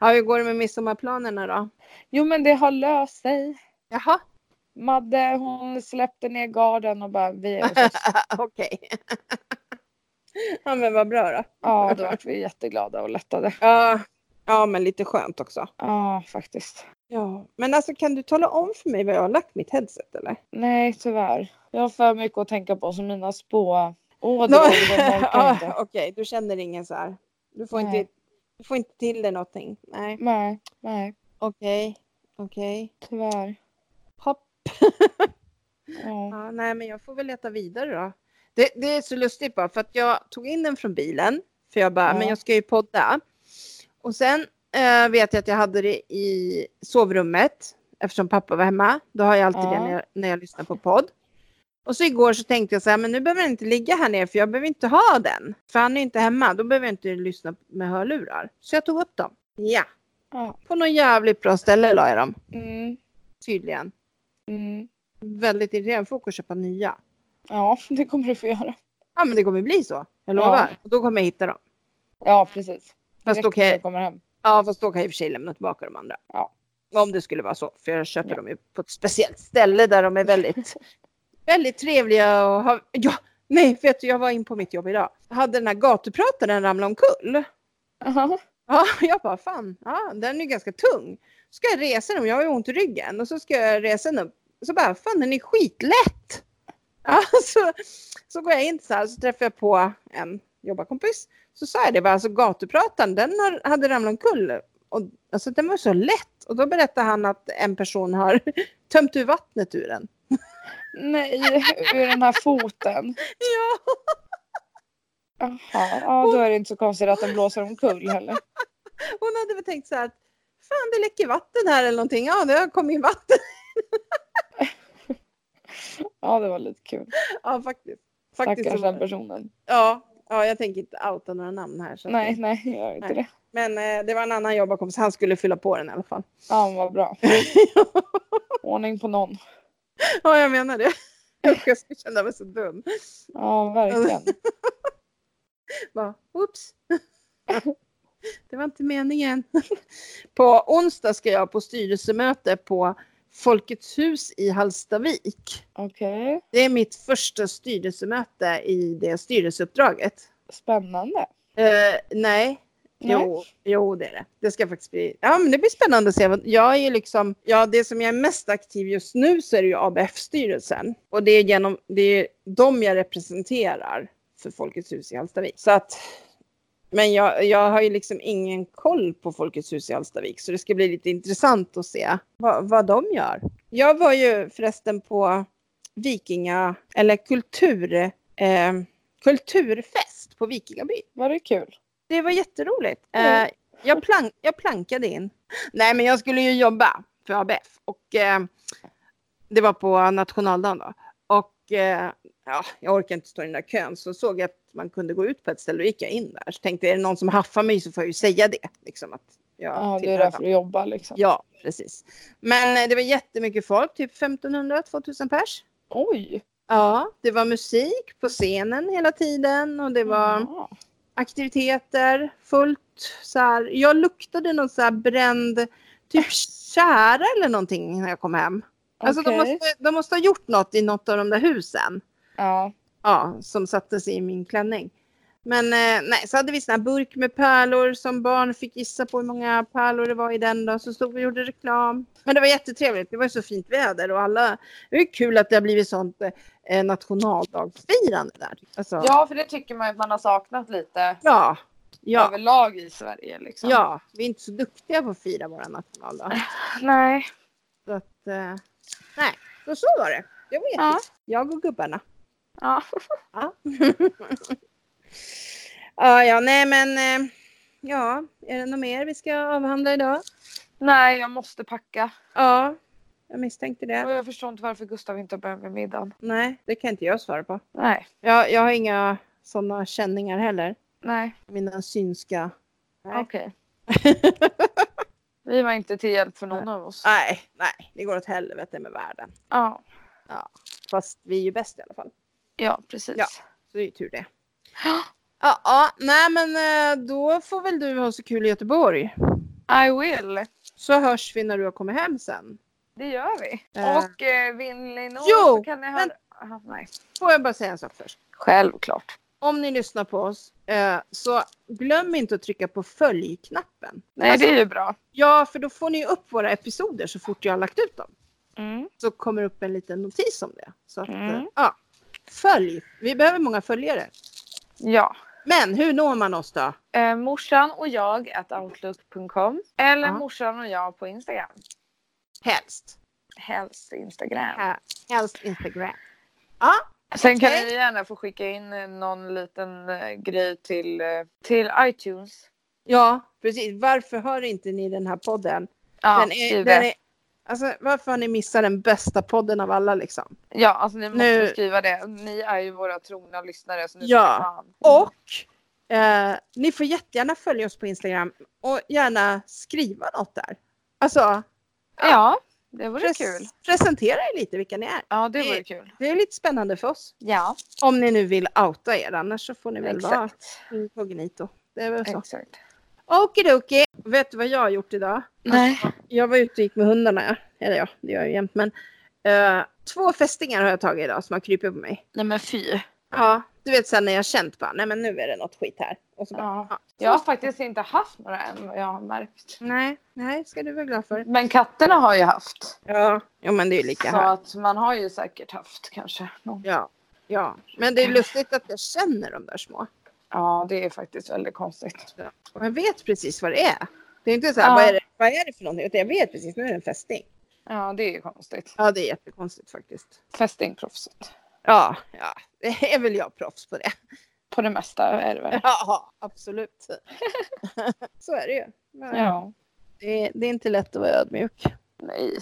Ja, hur går det med midsommarplanerna då?
Jo, men det har löst sig.
Jaha,
Madde, hon släppte ner garden och bara, vi är hos oss.
okej. ja, men vad bra då.
Ja, då vart vi jätteglada och lättade.
Ja, ja men lite skönt också.
Ja, faktiskt.
Ja, men alltså kan du tala om för mig var jag har lagt mitt headset eller?
Nej, tyvärr. Jag har för mycket att tänka på, så mina spå... Åh, det
Nå-
var det, de orkar
Ja,
inte.
Okej, du känner ingen så här. Du får,
Nej.
inte, du får inte till dig någonting. Nej,
Nej, nej,
okej. Okej.
tyvärr.
Hopp.
Ja.
Ja, nej, men jag får väl leta vidare då. Det, det är så lustigt bara för att jag tog in den från bilen. För jag bara,
Ja.
men jag ska ju podda. Och sen eh, vet jag att jag hade det i sovrummet. Eftersom pappa var hemma. Då har jag alltid
Ja.
det när jag, när jag lyssnar på podd. Och så igår så tänkte jag så här, men nu behöver den inte ligga här nere för jag behöver inte ha den. För han är inte hemma, då behöver jag inte lyssna med hörlurar. Så jag tog upp dem. Ja,
ja.
på något jävligt bra ställe la jag dem.
Mm,
Tydligen.
mm.
Väldigt irriterande, jag får åka och köpa nya.
ja, det kommer du få göra.
Ja men det kommer bli så. Jag
Ja.
lovar. Och då kommer jag hitta dem.
Ja, precis.
Fast
Direkt
okej.
när jag kommer hem.
Ja fast då kan jag i och för sig lämna tillbaka de andra.
Ja.
Om det skulle vara så, för jag köper dem ju på ett speciellt ställe där de är väldigt, väldigt trevliga och har, ja, nej, vet du, jag var in på mitt jobb idag. Jag hade den här gatuprataren ramlat omkull.
Jaha.
Ja, jag bara fan, ja, den är ju ganska tung. Ska jag resa den, jag har ju ont i ryggen och så ska jag resa den upp. Så bara fan den är skitlätt. Ja, så, så går jag in så här så träffar jag på en jobbarkompis. Så sa jag det bara, alltså gatuprataren den har, hade ramlat omkull. Och, alltså den var så lätt och då berättade han att en person har tömt ur vattnet ur den.
Nej, ur den här foten.
Ja,
Jaha. Ja, då är det inte så konstigt att den blåser omkull heller.
hon hade väl tänkt så här att fan det läcker vatten här eller någonting. Ja, det har kommit in vatten.
Ja, det var lite kul.
Ja, faktiskt. faktiskt
Stackars
så var
den
det.
personen.
Ja, ja, jag tänker inte outa några namn här. Så att-
Nej, nej, jag gör
Nej.
inte det.
Men eh, det var en annan jobbarkompis, han skulle fylla på den i alla fall.
Ja, men vad bra. Ordning på någon.
ja, jag menar det. Jag skulle känna mig så dum.
Ja, verkligen.
Bara, oops. det var inte meningen. på onsdag ska jag på styrelsemöte på Folkets hus i Hallstavik.
Okej,
Det är mitt första styrelsemöte i det styrelseuppdraget.
spännande.
Eh, nej, Jo, jo, det är det. Det ska faktiskt bli, ja, men det blir spännande att se. vad- Jag är ju liksom, ja, det som jag är mest aktiv just nu så är det ju ABF-styrelsen. Och det är genom, det är dem jag representerar för Folkets hus i Hallstavik. Så att, men jag, jag har ju liksom ingen koll på Folkets hus i Hallstavik så det ska bli lite intressant att se vad, vad de gör. Jag var ju förresten på vikinga, eller kultur, eh, kulturfest på Vikingabyn.
Var det kul?
Det var jätteroligt.
Mm.
Eh, jag, plank, jag plankade in. Nej, men jag skulle ju jobba för ABF och eh, det var på nationaldagen då. Och eh, ja, jag orkade inte stå i den där kön så såg jag att man kunde gå ut på ett ställe och gick jag in där. Så tänkte jag, är det någon som haffar mig så får jag ju säga det. Liksom, att jag
Ja, du är
tillhör
där
dem.
för att jobba liksom.
Ja, precis. Men eh, det var jättemycket folk, typ 1500-2000 pers.
Oj!
Ja, det var musik på scenen hela tiden och det var
Ja.
aktiviteter, fullt så här. Jag luktade någon så här bränd, typ tjära eller någonting när jag kom hem. Alltså de,
Okej.
måste, de måste ha gjort något i något av de där husen.
Ja,
Ja, som satte sig i min klänning. Men eh, nej, så hade vi sån här burk med pärlor som barn fick gissa på hur många pärlor det var i den då. Så stod vi och gjorde reklam. Men det var jättetrevligt. Det var ju så fint väder och alla. Det är ju kul att det har blivit sånt eh, nationaldagsfirande där. Alltså, ja.
Ja, för det tycker man ju att man har saknat lite
ja. Ja.
överlag i Sverige. Liksom.
Ja, vi är inte så duktiga på att fira våra nationaldag.
Nej.
Så att, eh, nej, så så var det. Jag vet
Ja.
inte. Jag och gubbarna.
Ja.
Ja. ja, ja, nej men. eh, Ja, är det något mer vi ska avhandla idag?
Nej, jag måste packa.
Ja, jag misstänkte
Och
det.
jag förstår inte varför Gustav inte har börjat med middagen.
Nej, det kan inte jag svara på.
Nej.
Jag, jag har inga sådana känningar heller.
Nej.
Mina synska. Nej.
Okej. Vi var inte till hjälp för någon av oss.
Nej, nej, det går åt helvete med världen.
Ja.
Fast vi är ju bäst i alla fall.
Ja, precis.
Ja. Så det är ju tur det. Ja, ja, nej men eh, då får väl du ha så kul i Göteborg.
I will.
Så hörs vi när du har kommit hem sen.
Det gör vi.
Eh.
Och eh, vinn Linor
Jo,
så kan ni höra... Ah, nej.
Får jag bara säga en sak först.
Självklart.
Om ni lyssnar på oss eh, så glöm inte att trycka på följ-knappen.
Nej,
Alltså-
det är ju bra.
Ja, för då får ni upp våra episoder så fort jag har lagt ut dem.
Mm.
Så kommer det upp en liten notis om det. Så att, eh,
Mm.
ja. Följ! Vi behöver många följare.
Ja.
Men hur når man oss då?
Eh, morsan och jag at outlook.com eller
Ja.
morsan och jag på Instagram.
Helst.
Helst Instagram.
Hä- Helst Instagram.
Sen kan
Okej.
ni gärna få skicka in eh, någon liten eh, grej till, eh, till iTunes.
Ja, precis. Varför hör inte ni den här podden?
Ja,
den är,
skriv
den
det.
är, alltså, varför har ni missat den bästa podden av alla liksom?
ja, alltså ni måste
Nu-
skriva det. Ni är ju våra trogna lyssnare. Så ni
Ja.
ska fan-
Och eh, ni får jättegärna följa oss på Instagram och gärna skriva något där. Alltså,
Ja, det vore
pres-
kul.
presentera er lite vilka ni är.
Ja, det
Det-
vore kul.
Det är lite spännande för oss.
Ja,
Om ni nu vill outa er, annars så får ni väl vara
exakt.
inkognito. Det är väl så.
exakt.
Okidoki! Vet du vad jag har gjort idag?
Nej.
Jag var ute och gick med hundarna. Eller ja, det gör jag ju jämt. Men eh, två fästingar har jag tagit idag som har krypit på mig.
Nej men fy.
Ja, du vet sen när jag har känt bara, nej men nu är det något skit här. Och så bara,
Ja.
ja.
Jag har faktiskt inte haft några än vad jag har märkt.
Nej, nej, ska du vara glad för.
Men katterna har ju haft.
Ja, ja men det är ju lika
så
här.
att man har ju säkert haft kanske. någon.
Ja, ja, men det är lustigt att jag känner de där små.
Ja det är faktiskt väldigt konstigt.
Och jag vet precis vad det är. Det är inte så här,
Ja.
vad, är det, vad är det för någonting? Utan jag vet precis, nu är det en fästing.
Ja det är ju konstigt.
Ja, det är jättekonstigt faktiskt.
Fästingproffset.
Ja, ja, det är väl jag proffs på det.
På det mesta är det väl.
Ja, absolut. så är det ju. Men
Ja.
Det, är- det är inte lätt att vara ödmjuk.
Nej.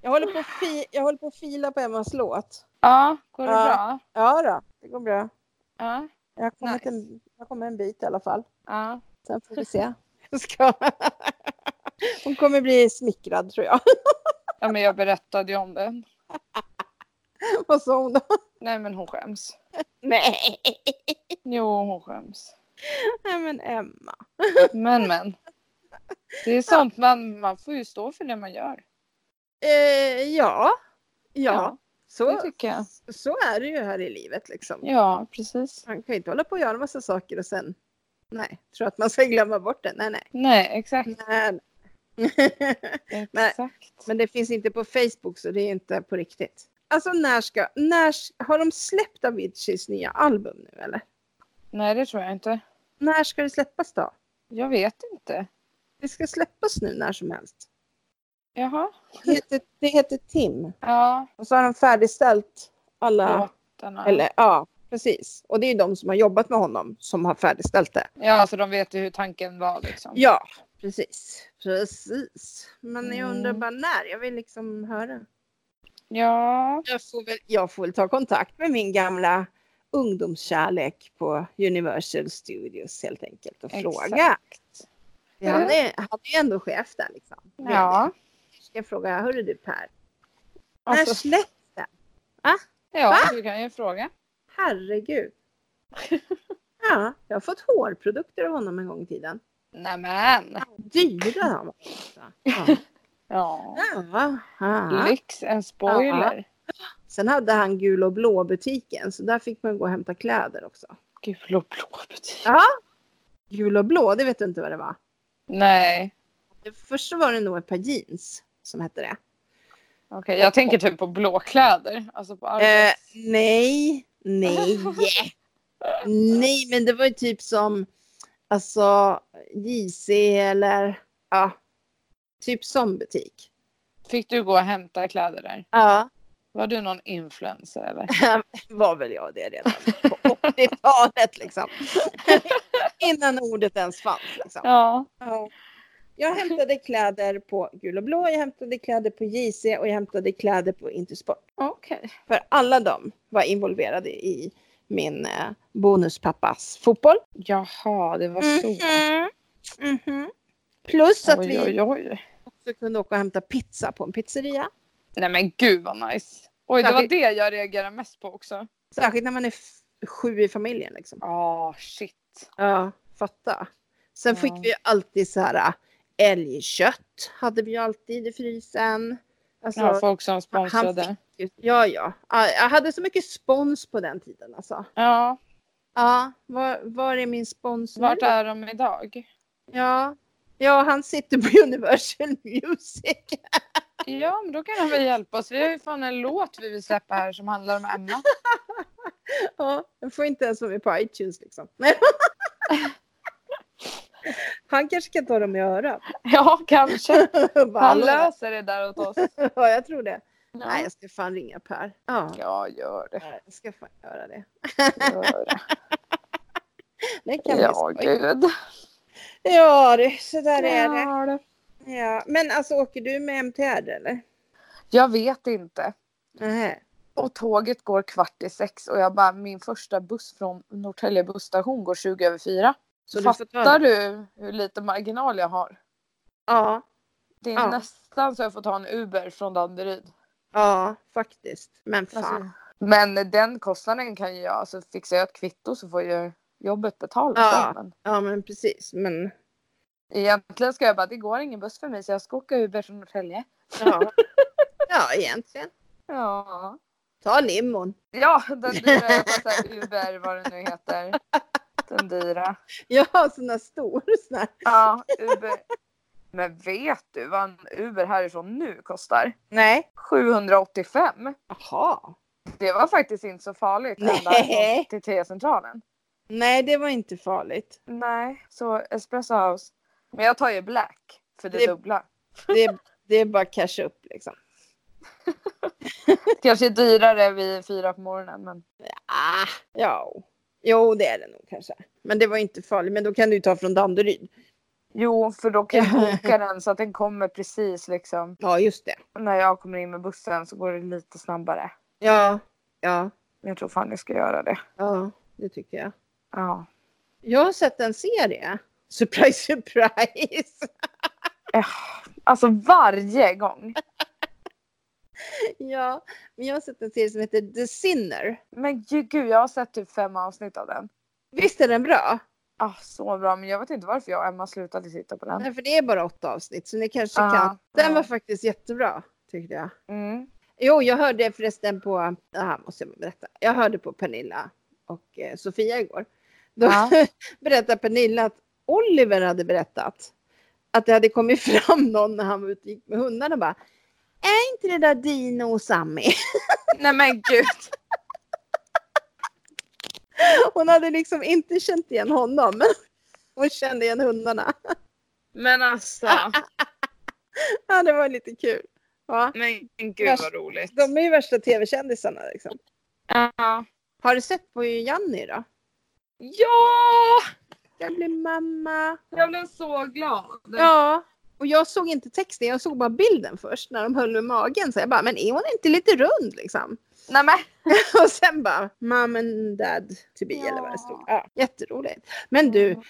Jag håller på att, fi, jag håller på att fila på Emmas låt.
Ja, går det
Ja.
bra?
Ja då, det går bra.
Ja.
Jag har kommit,
Nice.
en, jag har kommit en bit i alla fall.
ja.
Sen får vi se. Jag Ska. Hon kommer bli smickrad tror jag.
Ja men jag berättade ju om den.
Vad sa hon då?
Nej men hon skäms.
Nej.
Jo hon skäms.
Nej men Emma.
Men men. Det är sånt man, man får ju stå för det man gör.
Eh, ja. ja,
Ja, Det
så,
tycker jag.
så är det ju här i livet liksom.
Ja precis.
Man kan ju inte hålla på och göra massa saker och sen nej, tror att man ska glömma bort det. Nej, nej.
Nej exakt.
nej. nej.
Exakt.
men det finns inte på Facebook så det är inte på riktigt. Alltså när ska, när, har de släppt Aviciis nya album nu eller?
Nej det tror jag inte.
När ska det släppas då?
Jag vet inte.
Det ska släppas nu när som helst.
Jaha.
Det heter, det heter Tim.
Ja.
Och så har de färdigställt alla.
Låtarna.
Eller ja, precis. Och det är ju de som har jobbat med honom som har färdigställt det.
Ja så de vet ju hur tanken var liksom.
Ja, precis. Precis. Men jag
Mm.
undrar bara när. Jag vill liksom höra.
Ja.
Jag får väl, jag får väl ta kontakt med min gamla ungdomskärlek på Universal Studios helt enkelt och
Exakt.
fråga.
Ja.
Han är, han är ju ändå chef där liksom.
Ja.
Ska jag fråga, hörru du Per, när
Alltså,
släpps
ja du kan ju fråga.
Herregud. Ja, jag har fått hårprodukter av honom en gång i tiden.
Nämen.
Dyra han var. Ja.
Ja.
Ja, ja.
Lyx, en spoiler.
Sen hade han gul och blå butiken så där fick man gå och hämta kläder också.
Gul och blå butik.
Gul och blå, det vet du inte vad det var.
Nej.
Det första var det nog ett par jeans som hette det.
Okej, jag tänker typ på blåkläder. Alltså på
Eh,
Arbox.
nej, nej. nej, men det var ju typ som alltså JC eller ja, typ som butik.
Fick du gå och hämta kläder där?
Ja,
Var du någon influencer eller?
var väl jag det redan på 80-talet liksom. Innan ordet ens fanns liksom.
Ja.
Ja. Jag hämtade kläder på gul och blå, jag hämtade kläder på JC och jag hämtade kläder på Intersport.
Okej.
För alla de var involverade i min eh, bonuspappas fotboll.
Jaha, det var så.
Plus Mm. att
Mhm. Oj,
vi
oj, oj.
också kunde åka och hämta pizza på en pizzeria.
Nej men gud vad nice. Oj, det
Ja,
var
vi-
det jag reagerade mest på också.
Särskilt när man är f- sju i familjen. Liksom.
Ja, shit.
Ja, fatta. Sen
Ja.
fick vi ju alltid så här äh, älgkött hade vi ju alltid i frysen. Alltså,
Ja,
ja,
folk som sponsrade.
ja, ja. Ja, Jag hade så mycket spons på den tiden alltså.
Ja,
Ja, var, var är min spons nu?
vart är de idag?
Ja. ja, han sitter på Universal Music.
Ja, men då kan de väl hjälpa oss. Vi har ju fan en låt vi vill släppa här som handlar om Emma.
Ja, jag får inte ens vara med på iTunes liksom. Han kanske kan ta dem i örat.
Ja, kanske.
Bara,
Han
"Hallå?"
löser det där åt oss.
Ja, jag tror det. Nej,
Ja,
jag ska fan ringa Per. Ja,
ja gör det.
jag ska fan göra det.
Gör det.
Det kan bli
Ja,
skoj.
gud.
Ja, du, så där är det.
Ja, det.
Ja. Men alltså, åker du med MTR eller?
Jag vet inte.
Nej.
Och tåget går kvart i sex och jag bara, min första buss från Norrtälje busstation går 20 över fyra.
Så du får ta
Fattar
den?
du hur lite marginal jag har?
Ja,
Det är
Ja.
nästan så jag får ta en Uber från Danderyd.
ja, faktiskt. Men fan.
Alltså, men den kostnaden kan ju jag, alltså fixar jag ett kvitto så får ju jobbet betalat
Ja.
för. Men
Ja men precis. Men
egentligen ska jag bara, det går ingen buss för mig så jag ska åka Uber från Norrtälje.
ja. ja egentligen.
Ja.
Ta limon.
Ja, den dyra jag bara så här, Uber, vad det nu heter. Den dyra.
Jag har sån där stor sån här.
Ja, Uber. Men vet du vad en Uber härifrån nu kostar?
Nej.
785.
Jaha.
Det var faktiskt inte så farligt ända
Nej.
från- till T-centralen.
Nej det var inte farligt.
Nej, så Espresso House. Men jag tar ju Black för det,
Det-
dubbla.
Det, det är bara cash upp liksom.
Kanske dyrare vid fyra på morgonen men
Ah, ja. Jo det är det nog kanske. Men det var inte farligt. Men då kan du ju ta från Danderyd.
jo för då kan jag boka den så att den kommer precis liksom
Ja just det.
när jag kommer in med bussen så går det lite snabbare.
Ja. Ja.
Men Jag tror fan jag ska göra det.
Ja det tycker jag.
Ja.
Jag har sett en serie. Surprise surprise.
Eh, Alltså varje gång.
ja. Men jag har sett en serie som heter The Sinner.
Men ju- gud jag har sett typ fem avsnitt av den.
Visst är den bra?
Ah, så bra men jag vet inte varför jag och Emma slutade titta på den.
Nej, för det är bara åtta avsnitt så ni kanske
Ja,
kan. Den
ja.
var faktiskt jättebra tyckte jag.
Mm.
Jo, jag hörde förresten på, det här måste jag berätta. Jag hörde på Pernilla och eh, Sofia igår. Då
Ja.
berättade Pernilla att Oliver hade berättat att det hade kommit fram någon när han var ute och gick med hundarna och bara är inte det där Dino och Sammy?
Nej men gud.
Hon hade liksom inte känt igen honom. Men hon kände igen hundarna.
Men alltså.
Ja, det var lite kul. Ja.
Men gud
Värst-
vad roligt.
De är ju värsta tv-kändisarna liksom.
Ja.
Har du sett på Janni då?
Ja!
Jag blir mamma.
Jag blev så glad.
Ja. Och jag såg inte texten, jag såg bara bilden först när de höll med magen. Så jag bara, men är hon inte lite rund liksom?
Nej men.
Och sen bara, mom and dad to be eller vad det stod.
Ja.
Ja, jätteroligt. Men du,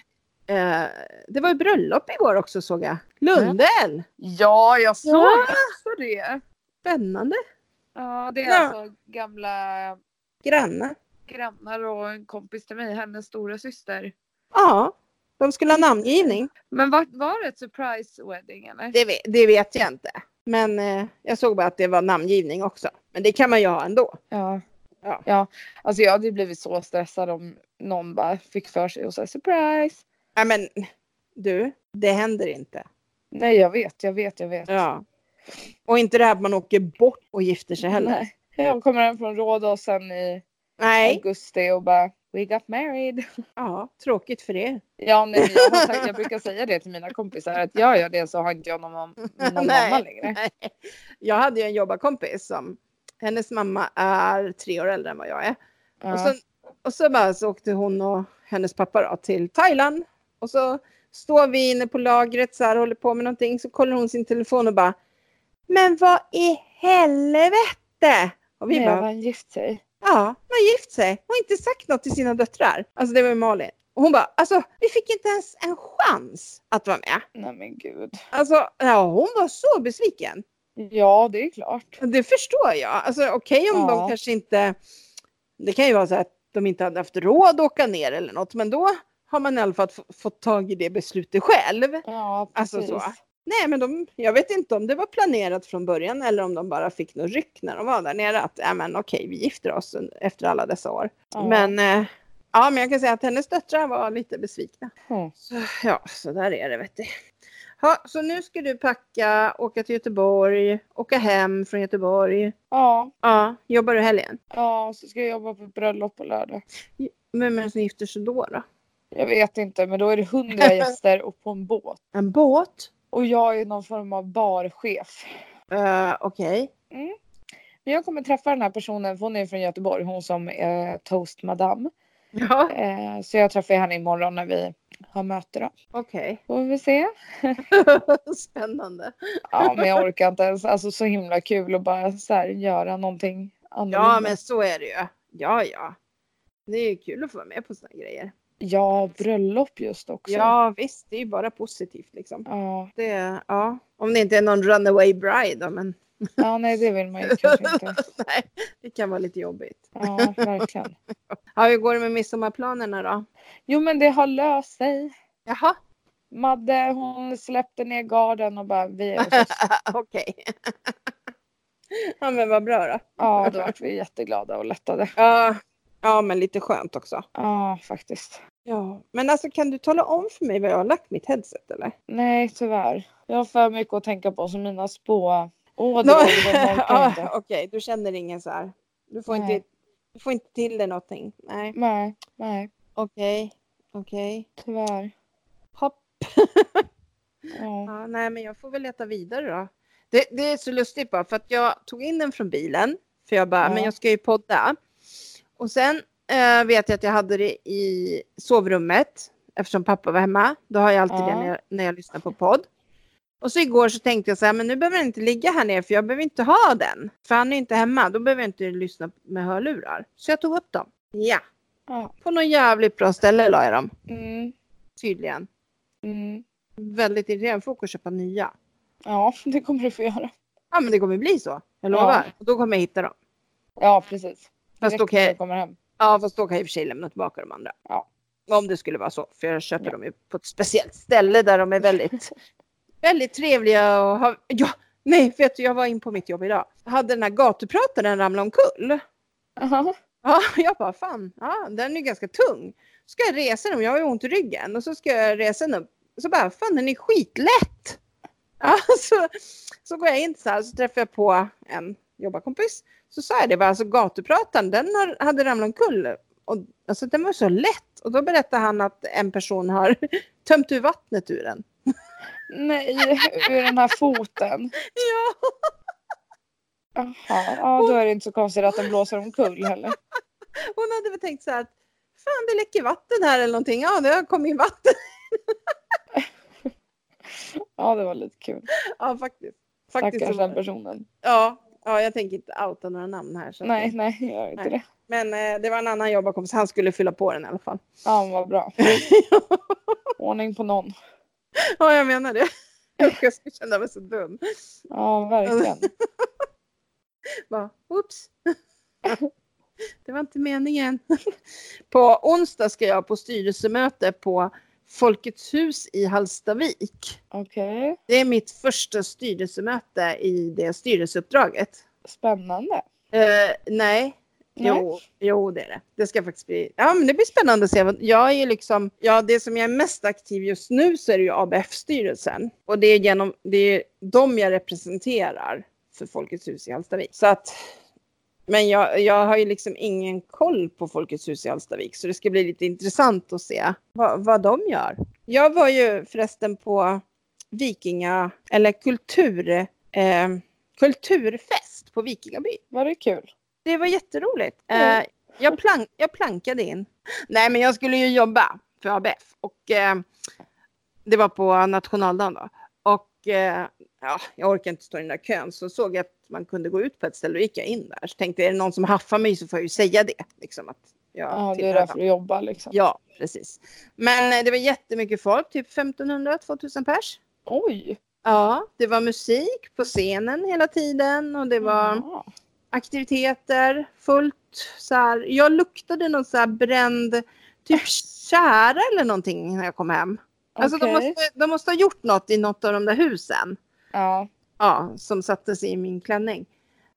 eh, det var ju bröllop igår också såg jag. Lundell!
Ja, jag såg
Ja.
också det.
Spännande.
Ja, det är
Ja.
alltså gamla
Granna.
grannar och en kompis till mig, hennes stora syster.
Ja, de skulle ha namngivning.
Men var, var det ett surprise wedding eller?
Det vet, det vet jag inte. Men eh, jag såg bara att det var namngivning också. Men det kan man ju ha ändå.
Ja.
Ja.
Ja. ja. Alltså jag hade ju blivit så stressad om någon bara fick för sig och sa surprise.
Nej men du, det händer inte.
Nej jag vet, jag vet, jag vet.
Ja. Och inte det här att man åker bort och gifter sig heller.
Nej. Jag kommer hem från Rhodosen i
Nej.
augusti och bara We got married.
Ja, tråkigt för er.
Ja, nej, men jag, har sagt, jag brukar säga det till mina kompisar att gör jag det så har inte jag någon, mam- någon
Nej.
mamma längre.
Jag hade ju en jobbarkompis som, hennes mamma är tre år äldre än vad jag är. Och, så, och så bara så åkte hon och hennes pappa då, till Thailand. Och så står vi inne på lagret så här, håller på med någonting. Så kollar hon sin telefon och bara, men vad i helvete? Och vi
vi
bara,
var en gift sig.
Ja, hon har gift sig och inte sagt något till sina döttrar. Alltså det var ju Malin. Och hon bara, alltså vi fick inte ens en chans att vara med.
Nej men gud.
Alltså ja, hon var så besviken.
Ja, det är klart.
Det förstår jag. Alltså okej om
Ja.
de kanske inte, det kan ju vara så att de inte hade haft råd att åka ner eller något, men då har man i alla fall fått- fått tag i det beslutet själv.
Ja,
Alltså,
precis.
så. Nej, men de, jag vet inte om det var planerat från början eller om de bara fick något ryck när de var där nere att, ja men okej, vi gifter oss efter alla dessa år.
Ja.
Men, eh, ja, men jag kan säga att hennes döttrar var lite besvikna.
Mm.
Så, ja, så där är det vet du. Ha, så nu ska du packa, åka till Göteborg, åka hem från Göteborg.
Ja,
Ja, jobbar du helgen?
ja, så ska jag jobba på ett bröllop på lördag.
Vem är det som gifter sig då? då?
Jag vet inte, men då är det hundra gäster och på en båt.
En båt?
Och jag är någon form av barchef.
Uh, Okej.
Men jag kommer träffa den här personen, för hon är från Göteborg, hon som är toastmadam.
Ja,
Eh, så jag träffar henne imorgon när vi har möte då.
okej.
Får vi se.
Spännande.
Ja, men jag orkar inte ens. Alltså så himla kul att bara så här, göra någonting annorlunda.
Ja, men så är det ju. Ja, ja. Det är ju kul att få vara med på sådana grejer.
Ja, bröllop just också.
Ja, visst. Det är ju bara positivt liksom.
Ja,
Det, ja. Om det inte är någon runaway bride då, men
Ja, nej det vill man ju kanske inte.
Nej, det kan vara lite jobbigt.
Ja, verkligen.
Ja, hur går det med midsommarplanerna då?
Jo, men det har löst sig.
Jaha,
Madde hon släppte ner garden och bara vi är hos oss.
okej. ja, men vad bra då.
Ja, då vart vi jätteglada och lättade.
Ja, ja men lite skönt också.
Ja, faktiskt.
Ja, men alltså kan du tala om för mig var jag har lagt mitt headset eller?
Nej, tyvärr. Jag har för mycket att tänka på så mina spå... Åh, det
Nå-
borde jag orkar
Ja,
inte.
Okej, du känner ingen så här. Du får,
Nej.
inte, du får inte till dig någonting. Nej.
Nej, nej,
Okej. Okej.
tyvärr.
Hopp.
Ja.
Ja, nej, men jag får väl leta vidare då. Det, det är så lustigt bara för att jag tog in den från bilen. För jag bara,
Ja.
men jag ska ju podda. Och sen eh, vet jag att jag hade det i sovrummet. Eftersom pappa var hemma. Då har jag alltid
Ja.
det när jag, när jag lyssnar på podd. Och så igår så tänkte jag så här, men nu behöver den inte ligga här nere för jag behöver inte ha den. För han är inte hemma, då behöver jag inte lyssna med hörlurar. Så jag tog upp dem. Ja,
ja.
på något jävligt bra ställe la jag dem.
Mm,
Tydligen.
mm.
Väldigt irriterande, folk att köpa nya.
ja, det kommer du få göra.
Ja men det kommer bli så. Jag
Ja.
lovar. Och då kommer jag hitta dem.
Ja, precis.
Fast
Direkt när
okej.
du kommer hem.
Ja fast då kan jag i och för sig lämna tillbaka de andra.
Ja.
Om det skulle vara så. För jag köper
Ja.
dem ju på ett speciellt ställe där de är väldigt, väldigt trevliga och har... Ja, nej vet du jag var in på mitt jobb idag. Hade den här gatuprataren ramlat omkull.
Aha.
Ja, jag bara fan, ja, den är ju ganska tung. Ska jag resa den? Jag har ju ont i ryggen. Och så ska jag resa den upp. Så bara, fan den är skitlätt. Ja, så, så går jag in så här så träffar jag på en jobbarkompis. Så sa jag det bara, alltså gatuprataren den har, hade ramlat omkull. Och, alltså den var så lätt. Och då berättade han att en person har tömt ur vattnet ur den.
Nej, ur den här foten.
Ja,
Jaha, ja, då är det inte så konstigt att den blåser omkull heller.
hon hade väl tänkt så här att fan det läcker vatten här eller någonting. Ja, det har kommit in vatten.
Ja, det var lite kul.
Ja, faktiskt. faktiskt så
Stackars
var
den
det.
personen.
Ja, ja, jag tänker inte outa några namn här. Så att-
Nej, nej, gör inte
Nej.
det.
Men eh, det var en annan jobbarkompis, han skulle fylla på den i alla fall.
Ja, men vad bra. Ordning på någon.
ja, jag menar det. Usch, jag skulle känna mig så dum.
Ja, verkligen.
Bara, oops. det var inte meningen. på onsdag ska jag på styrelsemöte på Folkets hus i Hallstavik.
Okej,
Det är mitt första styrelsemöte i det styrelseuppdraget.
spännande.
Eh, nej,
Nej.
Jo, jo, det är det. Det ska faktiskt bli, ja, men det blir spännande att se. vad- Jag är ju liksom, ja, det som jag är mest aktiv just nu så är det ju ABF-styrelsen. Och det är genom, det är dem jag representerar för Folkets hus i Hallstavik. Så att, men jag, jag har ju liksom ingen koll på Folkets hus i Hallstavik så det ska bli lite intressant att se vad, vad de gör. Jag var ju förresten på vikinga, eller kultur, eh, kulturfest på Vikingaby.
Var det kul?
Det var jätteroligt.
Ja.
Eh, jag, plank, jag plankade in. Nej, men jag skulle ju jobba för ABF och eh, det var på nationaldagen då. Och eh, ja, jag orkade inte stå i den där kön så såg jag att man kunde gå ut på ett ställe och gick jag in där. Så tänkte jag, är det någon som haffar mig så får jag ju säga det. Liksom, att jag
Ja, typ det
tillhör
är
dem.
därför du jobbar liksom.
Ja, precis. Men eh, det var jättemycket folk, typ 1500-2000 pers.
Oj!
Ja, det var musik på scenen hela tiden och det var
Ja.
aktiviteter, fullt så här. Jag luktade någon så här bränd, typ tjära eller någonting när jag kom hem. Alltså de
Okej.
måste, de måste ha gjort något i något av de där husen.
Ja.
Ja, som sattes i min klänning.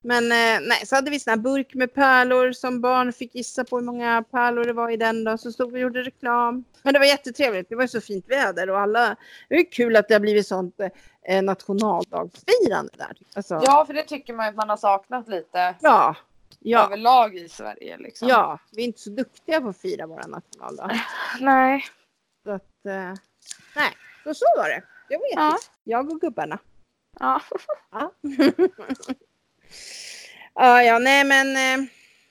Men eh, nej, så hade vi sån här burk med pärlor som barn fick gissa på hur många pärlor det var i den då. Så stod vi och gjorde reklam. Men det var jättetrevligt. Det var ju så fint väder och alla. Det är ju kul att det har blivit sånt eh, nationaldagsfirande där. Alltså,
ja, för det tycker man ju att man har saknat lite
ja. Ja.
överlag i Sverige liksom.
Ja, vi är inte så duktiga på att fira vår nationaldag.
Nej.
Så att, eh, nej, så så var det. Jag vet ja.
Ja.
Jag och gubbarna.
Ja.
Ja. ja, ja, nej men. eh,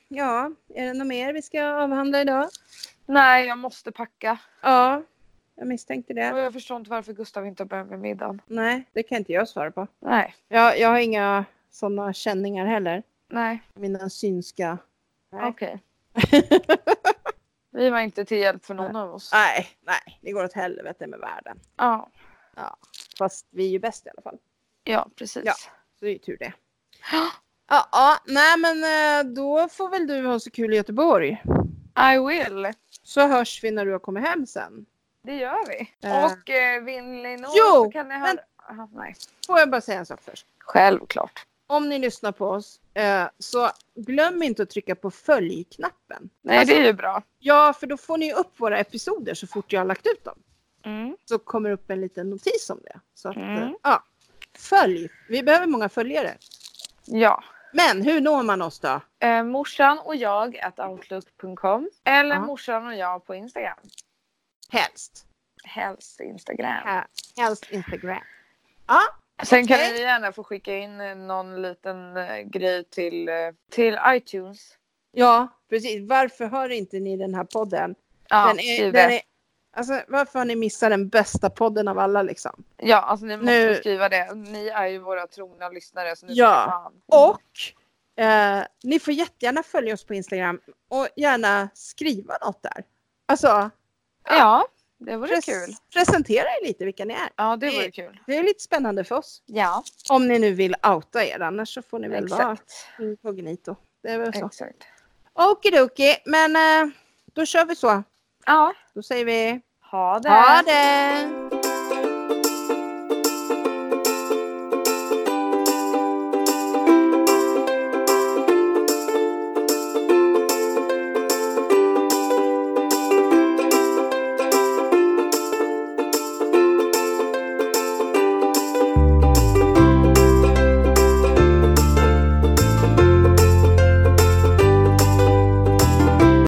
Ja, är det något mer vi ska avhandla idag?
Nej, jag måste packa.
Ja, jag misstänkte det.
Och jag förstår inte varför Gustav inte har börjat med middagen.
Nej, det kan inte jag svara på.
Nej.
Jag, jag har inga sådana känningar heller.
Nej.
Mina synska. Nej.
Okej. Vi var inte till hjälp för någon av oss.
Nej, nej, det går åt helvete med världen.
Ja.
Fast vi är ju bäst i alla fall.
Ja, precis.
Ja. Så det är ju tur det. Ja, ja, nej men eh, då får väl du ha så kul i Göteborg.
I will.
Så hörs vi när du har kommit hem sen.
Det gör vi.
Eh.
Och eh, vill ni nå
Jo,
så kan ni höra...
men-
Ah, nej.
Får jag bara säga en sak först?
Självklart.
Om ni lyssnar på oss eh, så glöm inte att trycka på följ-knappen.
Nej,
Alltså-
det är ju bra.
Ja, för då får ni upp våra episoder så fort jag har lagt ut dem.
Mm.
Så kommer upp en liten notis om det. Så att, eh,
Mm.
ja. Följ! Vi behöver många följare.
Ja.
Men hur når man oss då?
Eh, morsan och jag at outlook.com eller
Ja.
morsan och jag på Instagram.
Helst.
Helst Instagram.
Hä- Helst Instagram.
Sen kan
Okej.
ni gärna få skicka in eh, någon liten eh, grej till, eh, till iTunes.
Ja, precis. Varför hör inte ni den här podden?
Ja,
den är,
skriv
den
det.
är, alltså, varför har ni missat den bästa podden av alla liksom?
ja alltså ni måste
Nu-
skriva det. Ni är ju våra trogna lyssnare. Så ni
Ja.
ska fan-
Och eh, ni får jättegärna följa oss på Instagram och gärna skriva något där. Alltså,
Ja, det vore
pres-
kul.
presentera er lite vilka ni är.
Ja, det
Det-
vore kul.
Det är lite spännande för oss.
Ja,
Om ni nu vill outa er, annars så får ni väl vara
exakt.
inkognito. Det är väl så.
exakt.
Okidoki, men eh, då kör vi så.
Ja,
Då säger vi
ha det.
ha det!